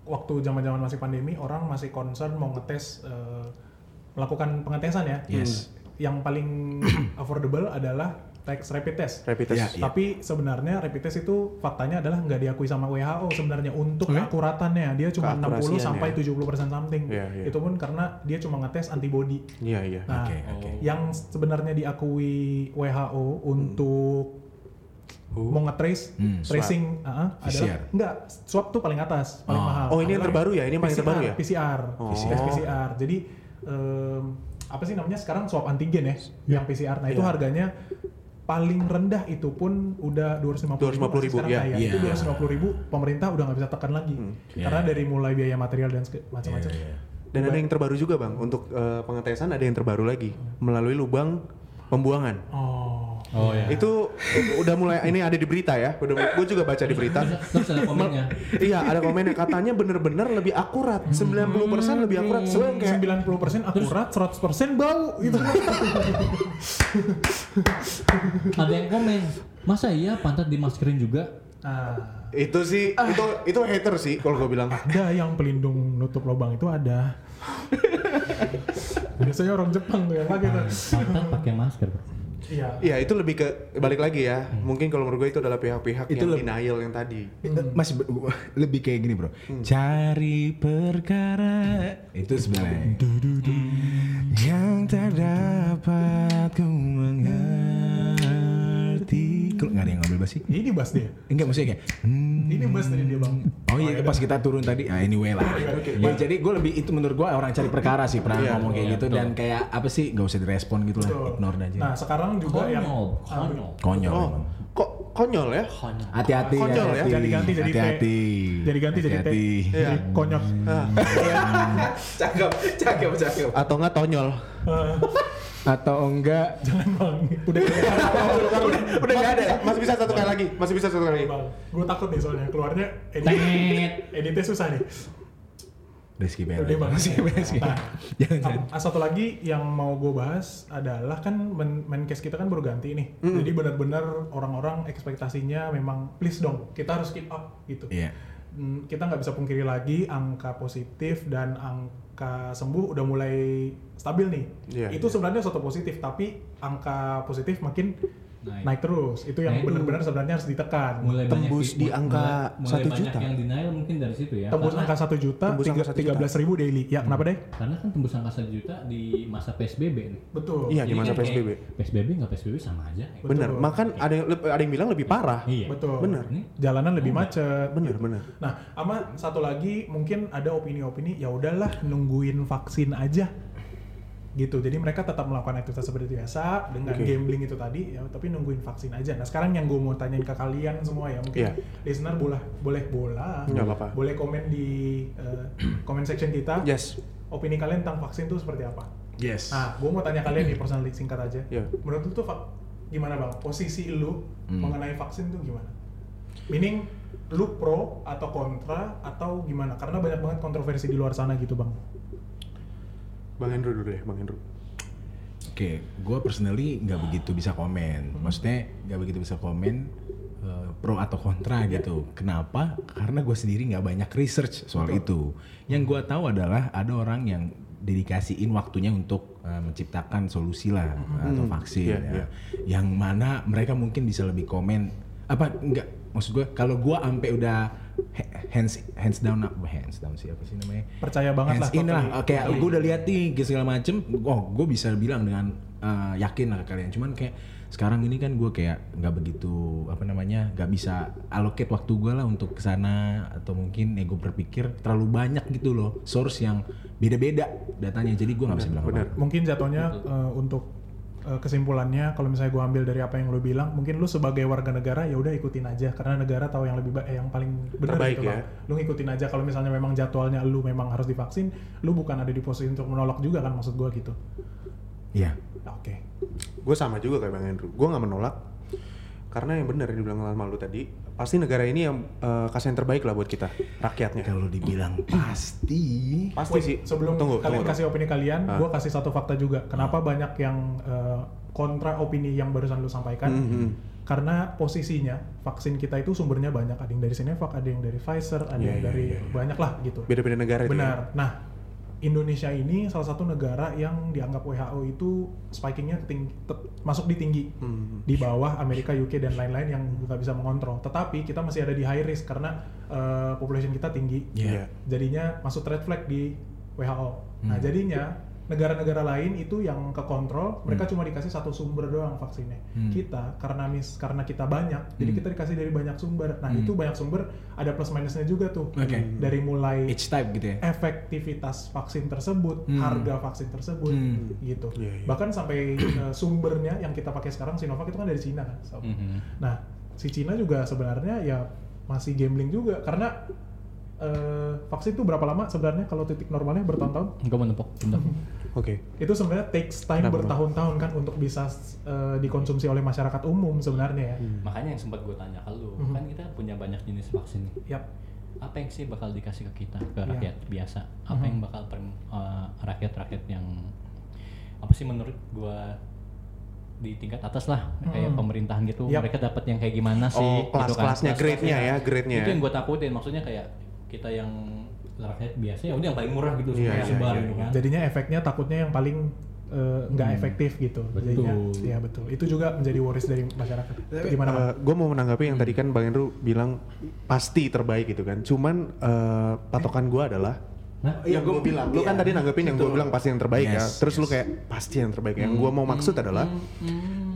[SPEAKER 1] waktu zaman-zaman masih pandemi orang masih concern mau ngetes eh, melakukan pengetesan ya
[SPEAKER 3] Yes.
[SPEAKER 1] yang paling affordable adalah teks rapid test
[SPEAKER 2] Rapid test.
[SPEAKER 3] Iya,
[SPEAKER 1] Tapi sebenarnya rapid test itu faktanya adalah nggak diakui sama WHO sebenarnya untuk keakuratannya dia cuma 60
[SPEAKER 2] Keakurasiannya.
[SPEAKER 1] sampai 70% something.
[SPEAKER 2] Iya, iya.
[SPEAKER 1] Itu pun karena dia cuma ngetes antibody.
[SPEAKER 2] Iya iya.
[SPEAKER 1] Nah,
[SPEAKER 3] Oke oke.
[SPEAKER 1] yang sebenarnya diakui WHO untuk mau ngetrace
[SPEAKER 3] Hmm, swab.
[SPEAKER 1] tracing uh-uh, adalah
[SPEAKER 3] PCR.
[SPEAKER 1] enggak swab tuh paling atas, paling
[SPEAKER 3] Oh.
[SPEAKER 1] mahal.
[SPEAKER 2] Oh ini yang terbaru ya, ini yang paling
[SPEAKER 1] PCR,
[SPEAKER 2] terbaru ya.
[SPEAKER 1] PCR,
[SPEAKER 2] Oh.
[SPEAKER 1] PCR, PCR. Jadi em, apa sih namanya sekarang swab antigen ya, yang PCR. Nah itu
[SPEAKER 2] Iya.
[SPEAKER 1] harganya paling rendah itu pun udah 250
[SPEAKER 2] 250.000,
[SPEAKER 1] ribu
[SPEAKER 2] iya. Hmm.
[SPEAKER 1] itu
[SPEAKER 3] Iya.
[SPEAKER 1] 250 ribu pemerintah udah nggak bisa tekan lagi karena dari mulai biaya material dan seg- macam-macam
[SPEAKER 3] Iya, iya.
[SPEAKER 2] Dan ada yang terbaru juga bang untuk eh, pengetesan ada yang terbaru lagi melalui lubang pembuangan.
[SPEAKER 1] oh
[SPEAKER 4] Oh ya.
[SPEAKER 2] Itu udah mulai ini ada di berita ya. Udah, gue juga baca di berita.
[SPEAKER 4] Terus ada komennya.
[SPEAKER 2] iya ada komennya katanya bener-bener lebih akurat 90% lebih akurat
[SPEAKER 1] Hmm.
[SPEAKER 2] Gue yang kayak
[SPEAKER 1] 90% akurat, 100% bau gitu.
[SPEAKER 4] Ada yang komen. Masa iya pantat dimaskerin juga?
[SPEAKER 1] Nah,
[SPEAKER 2] itu sih itu itu hater sih kalau gue bilang
[SPEAKER 1] ada yang pelindung nutup lubang itu ada. Biasanya orang Jepang tuh yang pakai tuh.
[SPEAKER 4] Pantat pakai masker. Bro.
[SPEAKER 1] Ah. Iya.
[SPEAKER 2] Iya itu lebih ke balik lagi ya mungkin kalau menurut gue itu adalah pihak-pihak
[SPEAKER 3] Itu
[SPEAKER 2] yang
[SPEAKER 3] lebih-
[SPEAKER 2] denial yang tadi
[SPEAKER 3] Masih ber- lebih kayak gini bro. Cari perkara itu sebenarnya yang tak dapat ku mengerti. Kalau nggak ada yang ngambil bass sih?
[SPEAKER 1] Ini bass dia.
[SPEAKER 3] Enggak maksudnya kayak hmm,
[SPEAKER 1] Ini bass tadi dia bang.
[SPEAKER 3] Oh iya, pas kita turun tadi, ah, anyway lah. Ya, jadi gue lebih itu menurut gue orang cari perkara sih pernah ngomong kayak gitu dan kayak apa sih nggak usah direspon gitu lah,
[SPEAKER 1] Betul.
[SPEAKER 3] ignore aja.
[SPEAKER 1] Nah sekarang juga yang
[SPEAKER 4] Konyol, konyol.
[SPEAKER 3] Konyol.
[SPEAKER 2] Oh,
[SPEAKER 3] emang.
[SPEAKER 2] kok konyol ya?
[SPEAKER 4] Konyol.
[SPEAKER 3] Hati-hati,
[SPEAKER 2] Konyol ya,
[SPEAKER 3] hati-hati,
[SPEAKER 1] Ah, jadi ganti jadi T.
[SPEAKER 3] hati-hati,
[SPEAKER 1] jadi ganti jadi T.
[SPEAKER 3] hati-hati. Iya. Hmm.
[SPEAKER 1] Jadi konyol.
[SPEAKER 3] Cakep, cakep, cakep.
[SPEAKER 2] Atau nggak tonyol?
[SPEAKER 1] Eh,
[SPEAKER 3] Atau enggak?
[SPEAKER 1] Jangan bang. Udah.
[SPEAKER 2] udah udah nggak ada ya? Masih bisa satu kali lagi. Masih bisa satu kali lagi.
[SPEAKER 1] bang. Gue takut nih soalnya keluarnya edit.
[SPEAKER 4] Tet.
[SPEAKER 1] Editnya susah nih.
[SPEAKER 3] Rizky Bella.
[SPEAKER 1] Udah bang.
[SPEAKER 3] Rizky Bella. Rizky Bella. Jangan, jangan.
[SPEAKER 2] Iya.
[SPEAKER 1] Ah, Satu lagi yang mau gue bahas adalah kan men menkes kita kan baru ganti nih. Jadi benar-benar orang-orang ekspektasinya memang please dong kita harus keep up gitu.
[SPEAKER 3] Iya.
[SPEAKER 1] Hmm, Kita nggak bisa pungkiri lagi angka positif dan angka sembuh udah mulai stabil nih.
[SPEAKER 2] Iya,
[SPEAKER 1] Itu sebenarnya suatu positif tapi angka positif makin
[SPEAKER 4] Naik.
[SPEAKER 1] naik terus. Itu yang
[SPEAKER 4] Naik dulu.
[SPEAKER 1] benar-benar sebenarnya harus ditekan.
[SPEAKER 4] mulai
[SPEAKER 2] Tembus
[SPEAKER 4] banyak
[SPEAKER 2] di angka
[SPEAKER 4] mulai,
[SPEAKER 2] 1
[SPEAKER 4] mulai banyak
[SPEAKER 2] juta.
[SPEAKER 4] yang denial mungkin dari situ ya
[SPEAKER 1] Tembus
[SPEAKER 4] karena,
[SPEAKER 1] angka satu juta,
[SPEAKER 2] Tembus angka
[SPEAKER 1] tiga
[SPEAKER 2] satu juta. Mm.
[SPEAKER 1] belas ribu daily. Ya kenapa deh?
[SPEAKER 4] karena kan tembus angka 1 juta di masa PSBB nih
[SPEAKER 1] Betul.
[SPEAKER 2] Iya di
[SPEAKER 4] Jadi
[SPEAKER 2] masa
[SPEAKER 4] kan kayak
[SPEAKER 2] PSBB.
[SPEAKER 4] PSBB nggak PSBB sama aja ya.
[SPEAKER 1] Betul.
[SPEAKER 2] Bener. Makan ada yang leb- ada yang bilang lebih parah.
[SPEAKER 4] iya
[SPEAKER 1] Betul.
[SPEAKER 2] Bener.
[SPEAKER 4] Ini
[SPEAKER 1] Jalanan lebih macet.
[SPEAKER 2] Bener bener.
[SPEAKER 1] Nah, sama satu lagi mungkin ada opini-opini ya udahlah nungguin vaksin aja gitu. Jadi mereka tetap melakukan aktivitas seperti biasa dengan
[SPEAKER 2] Oke.
[SPEAKER 1] gambling itu tadi ya, tapi nungguin vaksin aja. Nah, sekarang yang gue mau tanyain ke kalian semua ya, mungkin
[SPEAKER 2] Iya.
[SPEAKER 1] listener boleh boleh bola,
[SPEAKER 2] Nggak apa-apa. Ya.
[SPEAKER 1] boleh komen di eh, comment section kita.
[SPEAKER 2] Yes.
[SPEAKER 1] Opini kalian tentang vaksin tuh seperti apa?
[SPEAKER 3] Yes.
[SPEAKER 1] Nah, gue mau tanya kalian nih personal singkat aja.
[SPEAKER 2] Iya. Hmm.
[SPEAKER 1] Menurut lu tuh Fak, gimana bang? Posisi lu mengenai vaksin tuh gimana? Meaning lu pro atau kontra atau gimana? Karena banyak banget kontroversi di luar sana gitu bang.
[SPEAKER 2] Bang Hendro dulu deh, Bang Hendro.
[SPEAKER 3] Oke, gue personally nggak begitu bisa komen. Maksudnya nggak begitu bisa komen eh, pro atau kontra gitu. Kenapa? Karena gue sendiri nggak banyak research soal itu. Yang gue tahu adalah ada orang yang dedikasiin waktunya untuk eh, menciptakan solusi lah atau vaksin
[SPEAKER 2] Iya,
[SPEAKER 3] ya.
[SPEAKER 2] iya.
[SPEAKER 3] Yang mana mereka mungkin bisa lebih komen apa enggak maksud gue kalau gue ampe udah he- hands hands down up hands down siapa sih namanya
[SPEAKER 1] Percaya banget lah. Iya.
[SPEAKER 3] Hands in lah.
[SPEAKER 1] totally.
[SPEAKER 3] Kayak gue udah lihat nih kayak segala macem. Oh, gue bisa bilang dengan eh, yakin lah ke kalian. Cuman kayak sekarang ini kan gue kayak nggak begitu apa namanya nggak bisa allocate waktu gue lah untuk kesana atau mungkin ego berpikir terlalu banyak gitu loh source yang beda-beda datanya jadi gue nggak bisa bilang
[SPEAKER 2] Bener.
[SPEAKER 1] Mungkin jatuhnya eh, untuk eh, kesimpulannya kalau misalnya gue ambil dari apa yang lu bilang, mungkin lu sebagai warga negara ya udah ikutin aja karena negara tahu yang lebih ba- eh, yang paling benar
[SPEAKER 2] Terbaik
[SPEAKER 1] gitu Bang.
[SPEAKER 2] ya.
[SPEAKER 1] Lu ngikutin aja kalau misalnya memang jadwalnya lu memang harus divaksin, lu bukan ada di posisi untuk menolak juga kan maksud gue gitu.
[SPEAKER 3] Iya.
[SPEAKER 1] Oke.
[SPEAKER 2] Gue sama juga kayak Bang Hendro. Gue nggak menolak karena yang benar yang dibilang sama lu tadi, pasti negara ini yang eh, kasih yang terbaik lah buat kita, rakyatnya.
[SPEAKER 3] kalau dibilang pasti
[SPEAKER 2] Pasti
[SPEAKER 1] Wait,
[SPEAKER 2] sih.
[SPEAKER 1] sebelum
[SPEAKER 2] tunggu,
[SPEAKER 1] kalian
[SPEAKER 2] tunggu. Ah.
[SPEAKER 1] kasih opini kalian, gue kasih satu fakta juga. Kenapa banyak yang eh, kontra opini yang barusan lu sampaikan?
[SPEAKER 2] Hmm,
[SPEAKER 1] Karena posisinya vaksin kita itu sumbernya banyak. Ada yang dari Sinovac, ada yang dari Pfizer,
[SPEAKER 2] Iya,
[SPEAKER 1] ada yang dari banyak lah gitu.
[SPEAKER 2] Beda-beda negara itu. ya.
[SPEAKER 1] Benar. Nah, Indonesia ini salah satu negara yang dianggap WHO itu spikingnya keting- tet- masuk di tinggi,
[SPEAKER 2] Hmm.
[SPEAKER 1] di bawah Amerika, UK dan lain-lain yang nggak bisa mengontrol. Tetapi kita masih ada di high risk karena eh, population kita tinggi,
[SPEAKER 2] Iya.
[SPEAKER 1] jadinya masuk red flag di WHO.
[SPEAKER 3] Hmm.
[SPEAKER 1] Nah jadinya negara-negara lain itu yang ke kontrol, mereka
[SPEAKER 3] Hmm.
[SPEAKER 1] cuma dikasih satu sumber doang vaksinnya. Kita karena mis karena kita banyak,
[SPEAKER 3] Hmm.
[SPEAKER 1] jadi kita dikasih dari banyak sumber. Nah itu banyak sumber ada plus minusnya juga tuh.
[SPEAKER 3] Oke.
[SPEAKER 1] Dari mulai
[SPEAKER 3] each type gitu ya
[SPEAKER 1] efektivitas vaksin tersebut, harga vaksin tersebut,
[SPEAKER 3] Hmm.
[SPEAKER 1] gitu.
[SPEAKER 2] Iya, iya.
[SPEAKER 1] Bahkan sampai eh, sumbernya yang kita pakai sekarang Sinovac itu kan dari Cina kan.
[SPEAKER 3] Hmm.
[SPEAKER 1] So, Nah, si Cina juga sebenarnya ya masih gambling juga karena eh, vaksin itu berapa lama sebenarnya kalau titik normalnya bertahun-tahun?
[SPEAKER 4] Engkau menepok pundak.
[SPEAKER 2] Oke.
[SPEAKER 1] Itu sebenarnya takes time
[SPEAKER 2] Kenapa, Bang?
[SPEAKER 1] bertahun-tahun kan untuk bisa eh, dikonsumsi oleh masyarakat umum sebenarnya ya.
[SPEAKER 4] Makanya yang sempat gue tanya ke lu,
[SPEAKER 2] Mhm.
[SPEAKER 4] kan kita punya banyak jenis vaksin nih.
[SPEAKER 1] Yap.
[SPEAKER 4] Apa yang sih bakal dikasih ke kita,
[SPEAKER 1] Iya.
[SPEAKER 4] ke rakyat biasa? Apa
[SPEAKER 1] Mm-hmm.
[SPEAKER 4] yang bakal per- eh, rakyat-rakyat yang apa sih menurut gua di tingkat atas lah kayak pemerintahan gitu
[SPEAKER 1] Mm-hmm. Yap.
[SPEAKER 4] mereka dapat yang kayak gimana sih
[SPEAKER 2] Oh,
[SPEAKER 4] gitu kan.
[SPEAKER 2] kelas-kelasnya, grade-nya ya,
[SPEAKER 4] Kelas-kelasnya.
[SPEAKER 2] grade-nya
[SPEAKER 4] itu
[SPEAKER 2] ya.
[SPEAKER 4] yang gue takutin maksudnya kayak kita yang rakyat biasa ya udah yang paling murah gitu
[SPEAKER 2] Iya,
[SPEAKER 4] semua
[SPEAKER 2] iya,
[SPEAKER 4] sebar
[SPEAKER 2] iya,
[SPEAKER 4] gitu kan
[SPEAKER 1] Jadinya efeknya takutnya yang paling eh, nggak efektif gitu.
[SPEAKER 4] Betul.
[SPEAKER 1] Jadinya, ya betul. Itu juga menjadi worries dari masyarakat. Gimana Bang?
[SPEAKER 2] gue Eh, mau menanggapi yang tadi kan Bang Hendro bilang pasti terbaik gitu kan. Cuman eh, patokan gue adalah
[SPEAKER 4] Hah?
[SPEAKER 3] Iya,
[SPEAKER 1] Iya,
[SPEAKER 2] yang gue bilang, lu kan tadi nanggepin yang
[SPEAKER 1] gitu.
[SPEAKER 2] gue bilang pasti yang terbaik ya.
[SPEAKER 3] Yes,
[SPEAKER 2] Terus lu kayak pasti yang terbaik. Yang gue mau maksud adalah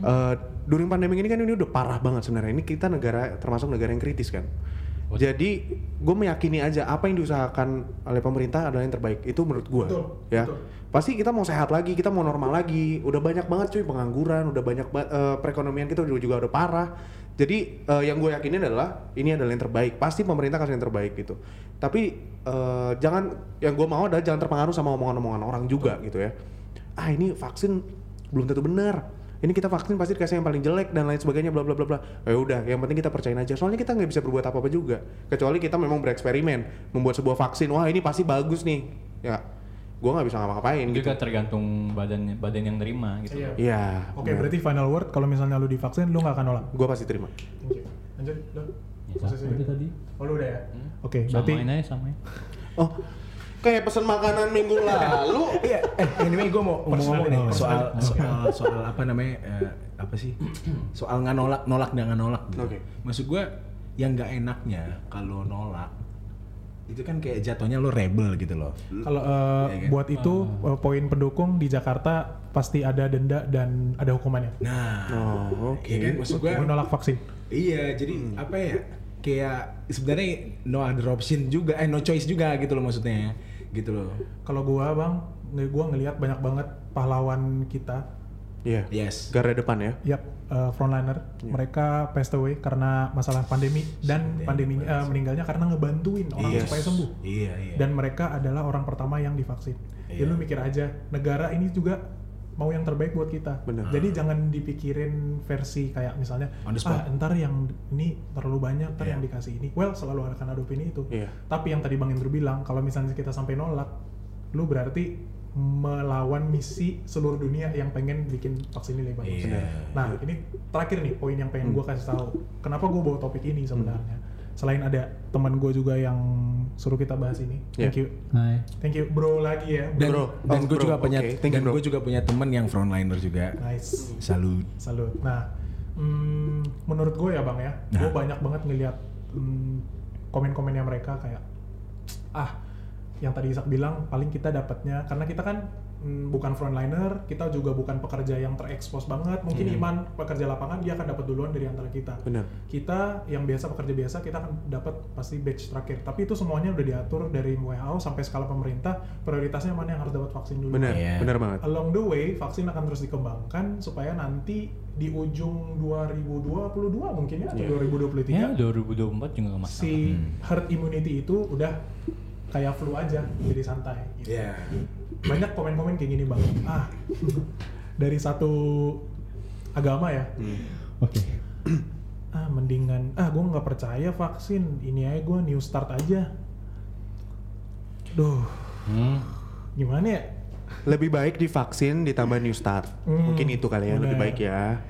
[SPEAKER 2] eh, during pandemi ini kan ini udah parah banget sebenarnya. Ini kita negara termasuk negara yang kritis kan. Jadi gue meyakini aja apa yang diusahakan oleh pemerintah adalah yang terbaik. Itu menurut gue,
[SPEAKER 1] Betul,
[SPEAKER 2] ya.
[SPEAKER 1] betul.
[SPEAKER 2] Pasti kita mau sehat lagi, kita mau normal lagi. Udah banyak banget cuy pengangguran, udah banyak ba- eh, perekonomian kita juga, juga udah parah. Jadi eh, yang gue yakinin adalah ini adalah yang terbaik. Pasti pemerintah kasih yang terbaik gitu. Tapi eh, jangan yang gue mau adalah jangan terpengaruh sama omongan-omongan orang juga gitu ya. Ah ini vaksin belum tentu benar. Ini kita vaksin pasti dikasih yang paling jelek dan lain sebagainya bla bla bla bla. Ya udah, yang penting kita percayain aja. Soalnya kita nggak bisa berbuat apa-apa juga. Kecuali kita memang bereksperimen, membuat sebuah vaksin. Wah, ini pasti bagus nih. Ya, gue nggak bisa ngapa-ngapain gitu.
[SPEAKER 4] juga tergantung badannya badan yang nerima gitu.
[SPEAKER 1] Iya.
[SPEAKER 2] Iya.
[SPEAKER 1] Oke, berarti final word kalau misalnya lu divaksin lu nggak akan nolak.
[SPEAKER 2] gue pasti terima.
[SPEAKER 1] Thank you. Lanjut, lu.
[SPEAKER 4] Ya,
[SPEAKER 1] Posisi.
[SPEAKER 4] sama itu tadi.
[SPEAKER 1] Oh, lu udah ya. Oke, berarti
[SPEAKER 4] Samain aja samain.
[SPEAKER 2] Oh, kayak pesan makanan minggu lalu.
[SPEAKER 3] Iya, eh anyway gue mau mau ngomong nih
[SPEAKER 1] knowledge.
[SPEAKER 3] soal soal soal apa namanya eh, apa sih soal nggak nolak nolak dan nggak nolak. Gitu.
[SPEAKER 2] Oke.
[SPEAKER 3] Maksud gue yang nggak enaknya kalau nolak itu kan kayak jatuhnya lo rebel gitu loh.
[SPEAKER 1] kalau eh,
[SPEAKER 3] Iya kan?
[SPEAKER 1] buat itu
[SPEAKER 2] Ah.
[SPEAKER 1] eh, poin pendukung di Jakarta pasti ada denda dan ada hukumannya.
[SPEAKER 3] Nah,
[SPEAKER 2] Oh, oke. Hmm.
[SPEAKER 3] iya kan maksud gue
[SPEAKER 1] Menolak vaksin.
[SPEAKER 3] iya jadi apa ya kayak sebenarnya no other option juga eh no choice juga gitu loh maksudnya gitu loh.
[SPEAKER 1] Kalau gua, Bang, nih gua ngelihat banyak banget pahlawan kita,
[SPEAKER 2] Iya.
[SPEAKER 3] Yes.
[SPEAKER 2] Garda depan ya.
[SPEAKER 1] yap, eh, frontliner,
[SPEAKER 3] Iya.
[SPEAKER 1] mereka passed away karena masalah pandemi dan
[SPEAKER 3] Sedih
[SPEAKER 1] pandemi eh,
[SPEAKER 3] banget sih.
[SPEAKER 1] meninggalnya karena ngebantuin orang
[SPEAKER 3] Yes.
[SPEAKER 1] supaya sembuh.
[SPEAKER 3] Iya iya.
[SPEAKER 1] Dan mereka adalah orang pertama yang divaksin.
[SPEAKER 3] Iya.
[SPEAKER 1] Ya lu mikir aja, negara ini juga mau yang terbaik buat kita.
[SPEAKER 2] Bener.
[SPEAKER 1] Jadi jangan dipikirin versi kayak misalnya,
[SPEAKER 3] Ah. On the
[SPEAKER 1] ah
[SPEAKER 3] spot."
[SPEAKER 1] ntar yang ini terlalu banyak, ntar
[SPEAKER 3] Iya.
[SPEAKER 1] yang dikasih ini. Well, selalu akan ada opini itu.
[SPEAKER 2] Iya.
[SPEAKER 1] Tapi yang tadi Bang Indro bilang, kalau misalnya kita sampai nolak, lu berarti melawan misi seluruh dunia yang pengen bikin vaksin ini lebih bagus.
[SPEAKER 3] Iya.
[SPEAKER 1] Nah, ini terakhir nih poin yang pengen gue kasih tahu. Kenapa gue bawa topik ini sebenarnya? Selain ada teman gue juga yang suruh kita bahas ini. Thank you,
[SPEAKER 4] Hai.
[SPEAKER 1] thank you, bro lagi ya.
[SPEAKER 3] dan,
[SPEAKER 2] Bro.
[SPEAKER 3] dan
[SPEAKER 2] Oh,
[SPEAKER 3] gue
[SPEAKER 2] bro.
[SPEAKER 3] juga punya
[SPEAKER 2] Oke, thank you,
[SPEAKER 3] dan
[SPEAKER 2] bro.
[SPEAKER 3] gue juga punya temen yang frontliner juga
[SPEAKER 1] Nice,
[SPEAKER 3] salut
[SPEAKER 1] salut. Nah, mm, menurut gue ya bang ya, gue
[SPEAKER 3] Nah.
[SPEAKER 1] banyak banget ngelihat mm, komen-komennya mereka kayak ah yang tadi Isak bilang paling kita dapatnya karena kita kan mm, bukan frontliner, kita juga bukan pekerja yang terekspos banget. Mungkin Iman pekerja lapangan dia akan dapat duluan dari antara kita.
[SPEAKER 2] Iya. Benar.
[SPEAKER 1] kita yang biasa pekerja biasa kita akan dapat pasti batch terakhir tapi itu semuanya udah diatur dari WHO sampai skala pemerintah prioritasnya mana yang harus dapat vaksin dulu
[SPEAKER 2] Benar.
[SPEAKER 3] Iya.
[SPEAKER 2] Benar banget.
[SPEAKER 1] along the way vaksin akan terus dikembangkan supaya nanti di ujung 2022 mungkin ya atau
[SPEAKER 2] Iya.
[SPEAKER 1] 2023
[SPEAKER 4] Ya 2024 juga nggak masalah.
[SPEAKER 1] si
[SPEAKER 2] Hmm.
[SPEAKER 1] herd immunity itu udah kayak flu aja jadi santai gitu
[SPEAKER 3] Iya.
[SPEAKER 1] banyak komen-komen kayak gini bang ah dari satu agama ya
[SPEAKER 2] Hmm.
[SPEAKER 4] Oke.
[SPEAKER 1] ah mendingan ah gue nggak percaya vaksin ini aja gue new start aja duh
[SPEAKER 4] Hmm.
[SPEAKER 1] gimana ya
[SPEAKER 2] Lebih baik divaksin ditambah new start.
[SPEAKER 1] Hmm,
[SPEAKER 2] Mungkin itu kali ya lebih
[SPEAKER 1] benar.
[SPEAKER 2] baik ya.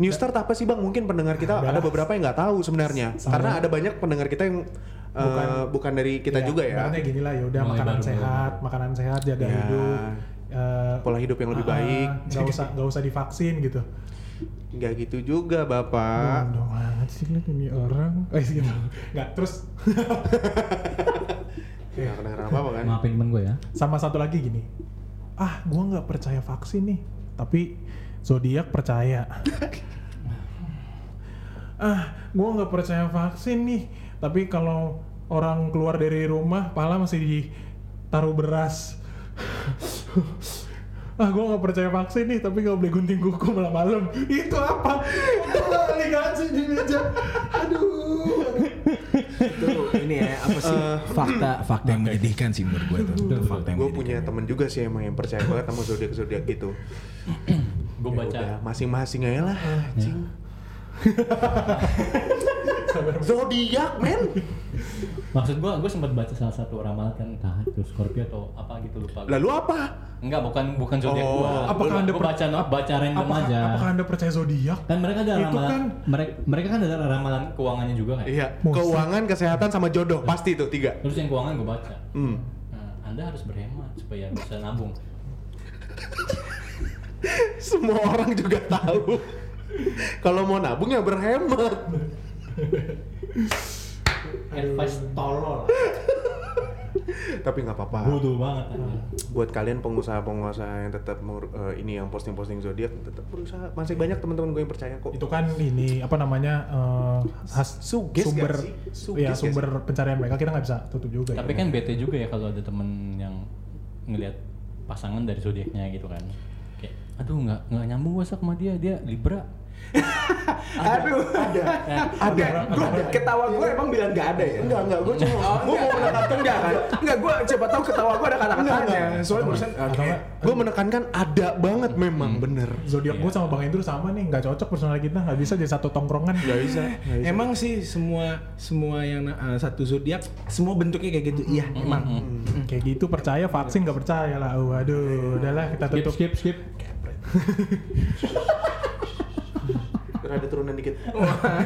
[SPEAKER 2] New start apa sih bang? Mungkin pendengar kita
[SPEAKER 1] Udah.
[SPEAKER 2] ada beberapa yang nggak tahu sebenarnya. Karena ada banyak pendengar kita yang eh, bukan,
[SPEAKER 1] Bukan.
[SPEAKER 2] dari kita juga ya.
[SPEAKER 1] Ibaratnya gini lah ya udah
[SPEAKER 4] Mulai
[SPEAKER 1] makanan
[SPEAKER 4] baru-baru.
[SPEAKER 1] sehat makanan sehat jaga
[SPEAKER 2] Ya.
[SPEAKER 1] hidup eh,
[SPEAKER 2] Pola hidup yang lebih
[SPEAKER 1] ah,
[SPEAKER 2] baik.
[SPEAKER 1] nggak usah nggak usah divaksin gitu
[SPEAKER 2] Nggak gitu juga bapak.
[SPEAKER 1] Bodoh banget sih lihat ini orang eh gitu nggak terus
[SPEAKER 2] Nggak kedengeran apa apa kan?
[SPEAKER 4] Maafin temen gue ya.
[SPEAKER 1] sama satu lagi gini ah gue nggak percaya vaksin nih tapi zodiak percaya ah gue nggak percaya vaksin nih tapi kalau orang keluar dari rumah pala masih ditaruh beras ah gue nggak percaya vaksin nih tapi nggak boleh gunting kuku malam-malam itu apa balik aja di meja aduh
[SPEAKER 3] ini ya apa sih fakta fakta yang menyedihkan sih menurut gue itu, itu fakta yang
[SPEAKER 2] Gue
[SPEAKER 3] menyedihkan.
[SPEAKER 2] punya temen juga sih emang yang percaya banget sama zodiak zodiak gitu.
[SPEAKER 4] Gue
[SPEAKER 2] Ya
[SPEAKER 4] baca.
[SPEAKER 2] udah, masing-masing aja lah. Anjing. zodiak men.
[SPEAKER 4] Maksud gue, gue sempat baca salah satu ramalan kan entah itu Scorpio atau apa gitu lupa. gua.
[SPEAKER 2] Lalu apa?
[SPEAKER 4] Enggak, bukan bukan zodiak
[SPEAKER 2] Oh.
[SPEAKER 4] gue.
[SPEAKER 1] Apakah Anda
[SPEAKER 4] gue
[SPEAKER 1] per-
[SPEAKER 4] baca no- baca random
[SPEAKER 1] apakah,
[SPEAKER 4] aja?
[SPEAKER 1] apakah anda percaya zodiak
[SPEAKER 4] Kan mereka ada
[SPEAKER 1] Itu
[SPEAKER 4] ramalan.
[SPEAKER 1] kan-
[SPEAKER 4] Mereka mereka kan ada ramalan keuangannya juga kan.
[SPEAKER 2] Iya.
[SPEAKER 1] Musik.
[SPEAKER 2] Keuangan, kesehatan, sama jodoh pasti itu tiga.
[SPEAKER 4] Terus yang keuangan gue baca.
[SPEAKER 2] Hmm.
[SPEAKER 4] Nah, anda harus berhemat supaya bisa nabung.
[SPEAKER 2] Semua orang juga tahu. Kalau mau nabung ya berhemat.
[SPEAKER 4] Advice tolol.
[SPEAKER 2] tapi nggak apa-apa
[SPEAKER 4] Bodoh banget. anjir.
[SPEAKER 2] buat kalian pengusaha-pengusaha yang tetap mur- eh, ini yang posting-posting zodiak tetap berusaha masih banyak teman-teman gue yang percaya kok
[SPEAKER 1] itu kan ini apa namanya eh, khas
[SPEAKER 2] Suges nggak
[SPEAKER 1] sumber
[SPEAKER 2] sih? Suges
[SPEAKER 1] ya
[SPEAKER 2] nggak
[SPEAKER 1] sumber pencarian mereka kita nggak bisa tutup juga
[SPEAKER 4] Tapi
[SPEAKER 1] ya.
[SPEAKER 4] kan bete juga ya kalau ada temen yang ngelihat pasangan dari zodiaknya gitu kan. Kayak, aduh nggak nggak nyambung gua sama dia, dia Libra.
[SPEAKER 2] aduh ada ada gue ketawa gue emang bilang nggak ada ya enggak enggak gue cuma gue mau menekankan enggak kan enggak gue siapa tahu ketawa gue ada kata-katanya soalnya barusan
[SPEAKER 1] Atau nggak,
[SPEAKER 2] gue menekankan ada banget memang bener
[SPEAKER 1] zodiak
[SPEAKER 4] iya.
[SPEAKER 1] gue sama bang Endro sama nih nggak cocok personal kita nggak bisa jadi satu tongkrongan
[SPEAKER 2] nggak bisa nggak bisa.
[SPEAKER 3] Emang sih semua semua yang eh, satu zodiak semua bentuknya kayak gitu. Iya, emang.
[SPEAKER 1] kayak gitu percaya vaksin nggak percaya lah waduh udahlah kita
[SPEAKER 4] Skip
[SPEAKER 1] tutup
[SPEAKER 4] skip skip.
[SPEAKER 2] rada turunan dikit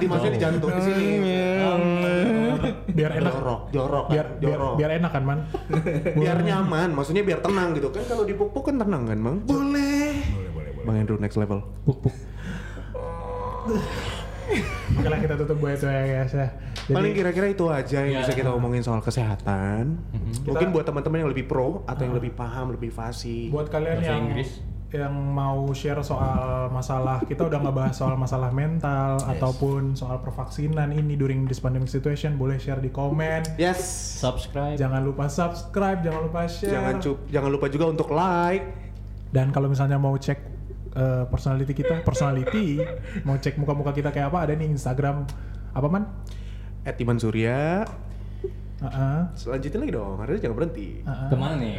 [SPEAKER 2] dimasuknya di jantung di sini
[SPEAKER 1] biar enak
[SPEAKER 2] jorok jorok
[SPEAKER 1] biar biar,
[SPEAKER 2] jorok
[SPEAKER 1] biar enak kan man
[SPEAKER 2] biar nyaman maksudnya biar tenang gitu kan kalau dipuk-puk kan tenang kan mang boleh Bang Andrew next level.
[SPEAKER 1] oke lah kita tutup gue itu ya guys ya Jadi-
[SPEAKER 2] Paling kira-kira itu aja yang bisa kita omongin soal kesehatan. Mungkin buat teman-teman yang lebih pro atau yang lebih paham, lebih fasih.
[SPEAKER 1] Ah. buat kalian
[SPEAKER 4] Bahasa
[SPEAKER 1] yang
[SPEAKER 4] Inggris.
[SPEAKER 1] yang mau share soal masalah kita udah ngebahas soal masalah mental ataupun soal pervaksinan ini during this pandemic situation boleh share di komen
[SPEAKER 2] Yes.
[SPEAKER 4] Subscribe.
[SPEAKER 1] jangan lupa subscribe jangan lupa share
[SPEAKER 2] Jangan cu- jangan lupa juga untuk like.
[SPEAKER 1] dan kalau misalnya mau cek eh, personality kita personality mau cek muka-muka kita kayak apa ada nih Instagram apa man
[SPEAKER 2] At Iman Surya.
[SPEAKER 1] Heeh.
[SPEAKER 2] Selanjutin lagi dong. Harusnya jangan berhenti.
[SPEAKER 1] heeh.
[SPEAKER 4] Kemana nih?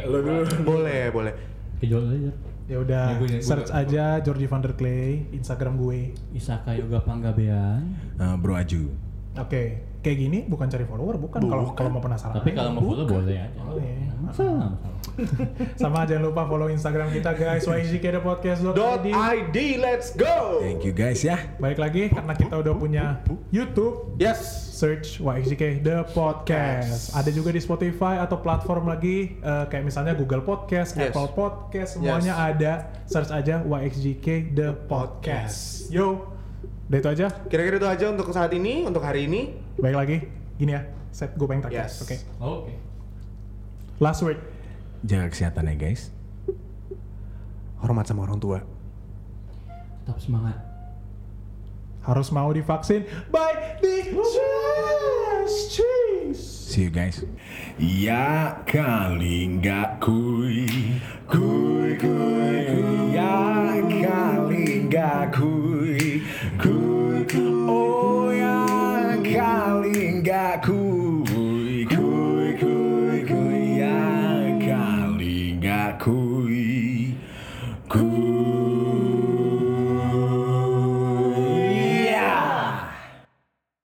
[SPEAKER 2] Boleh, boleh.
[SPEAKER 4] Ke Jogja.
[SPEAKER 1] ya udah
[SPEAKER 4] Ya, gue- gue-
[SPEAKER 1] search
[SPEAKER 4] gue-
[SPEAKER 1] aja Georgie Van Der Clay Instagram gue
[SPEAKER 4] Isaka Yoga Panggabean.
[SPEAKER 3] Eh, bro Aju.
[SPEAKER 1] oke kayak gini bukan cari follower bukan kalau kalau mau penasaran
[SPEAKER 4] Tapi kalau mau follow boleh aja.
[SPEAKER 1] Boleh.
[SPEAKER 4] Masalah.
[SPEAKER 1] Sama jangan lupa follow Instagram kita guys
[SPEAKER 2] Dot
[SPEAKER 1] YGKDpodcast.id
[SPEAKER 2] ID, let's go.
[SPEAKER 3] Thank you guys ya.
[SPEAKER 1] Baik lagi karena kita udah punya YouTube
[SPEAKER 2] Yes.
[SPEAKER 1] search YXJK The Podcast. Ada juga di Spotify atau platform lagi eh, kayak misalnya Google Podcast,
[SPEAKER 2] Yes.
[SPEAKER 1] Apple Podcast, semuanya
[SPEAKER 2] Yes.
[SPEAKER 1] ada. Search aja YXJK The Podcast. Yo, udah itu aja.
[SPEAKER 2] Kira-kira itu aja untuk saat ini, untuk hari ini.
[SPEAKER 1] Baik lagi, gini ya. Set gue pengen terakhir.
[SPEAKER 2] Yes.
[SPEAKER 1] Oke.
[SPEAKER 4] Oke.
[SPEAKER 1] Last word.
[SPEAKER 3] Jaga kesehatan ya guys.
[SPEAKER 2] Hormat sama orang tua.
[SPEAKER 4] Tetap semangat.
[SPEAKER 1] Harus mau divaksin by the Cheese. Cheese.
[SPEAKER 3] See you guys. Ya kali nggak kuy, kuy kuy kuy. Ya kali nggak kuy.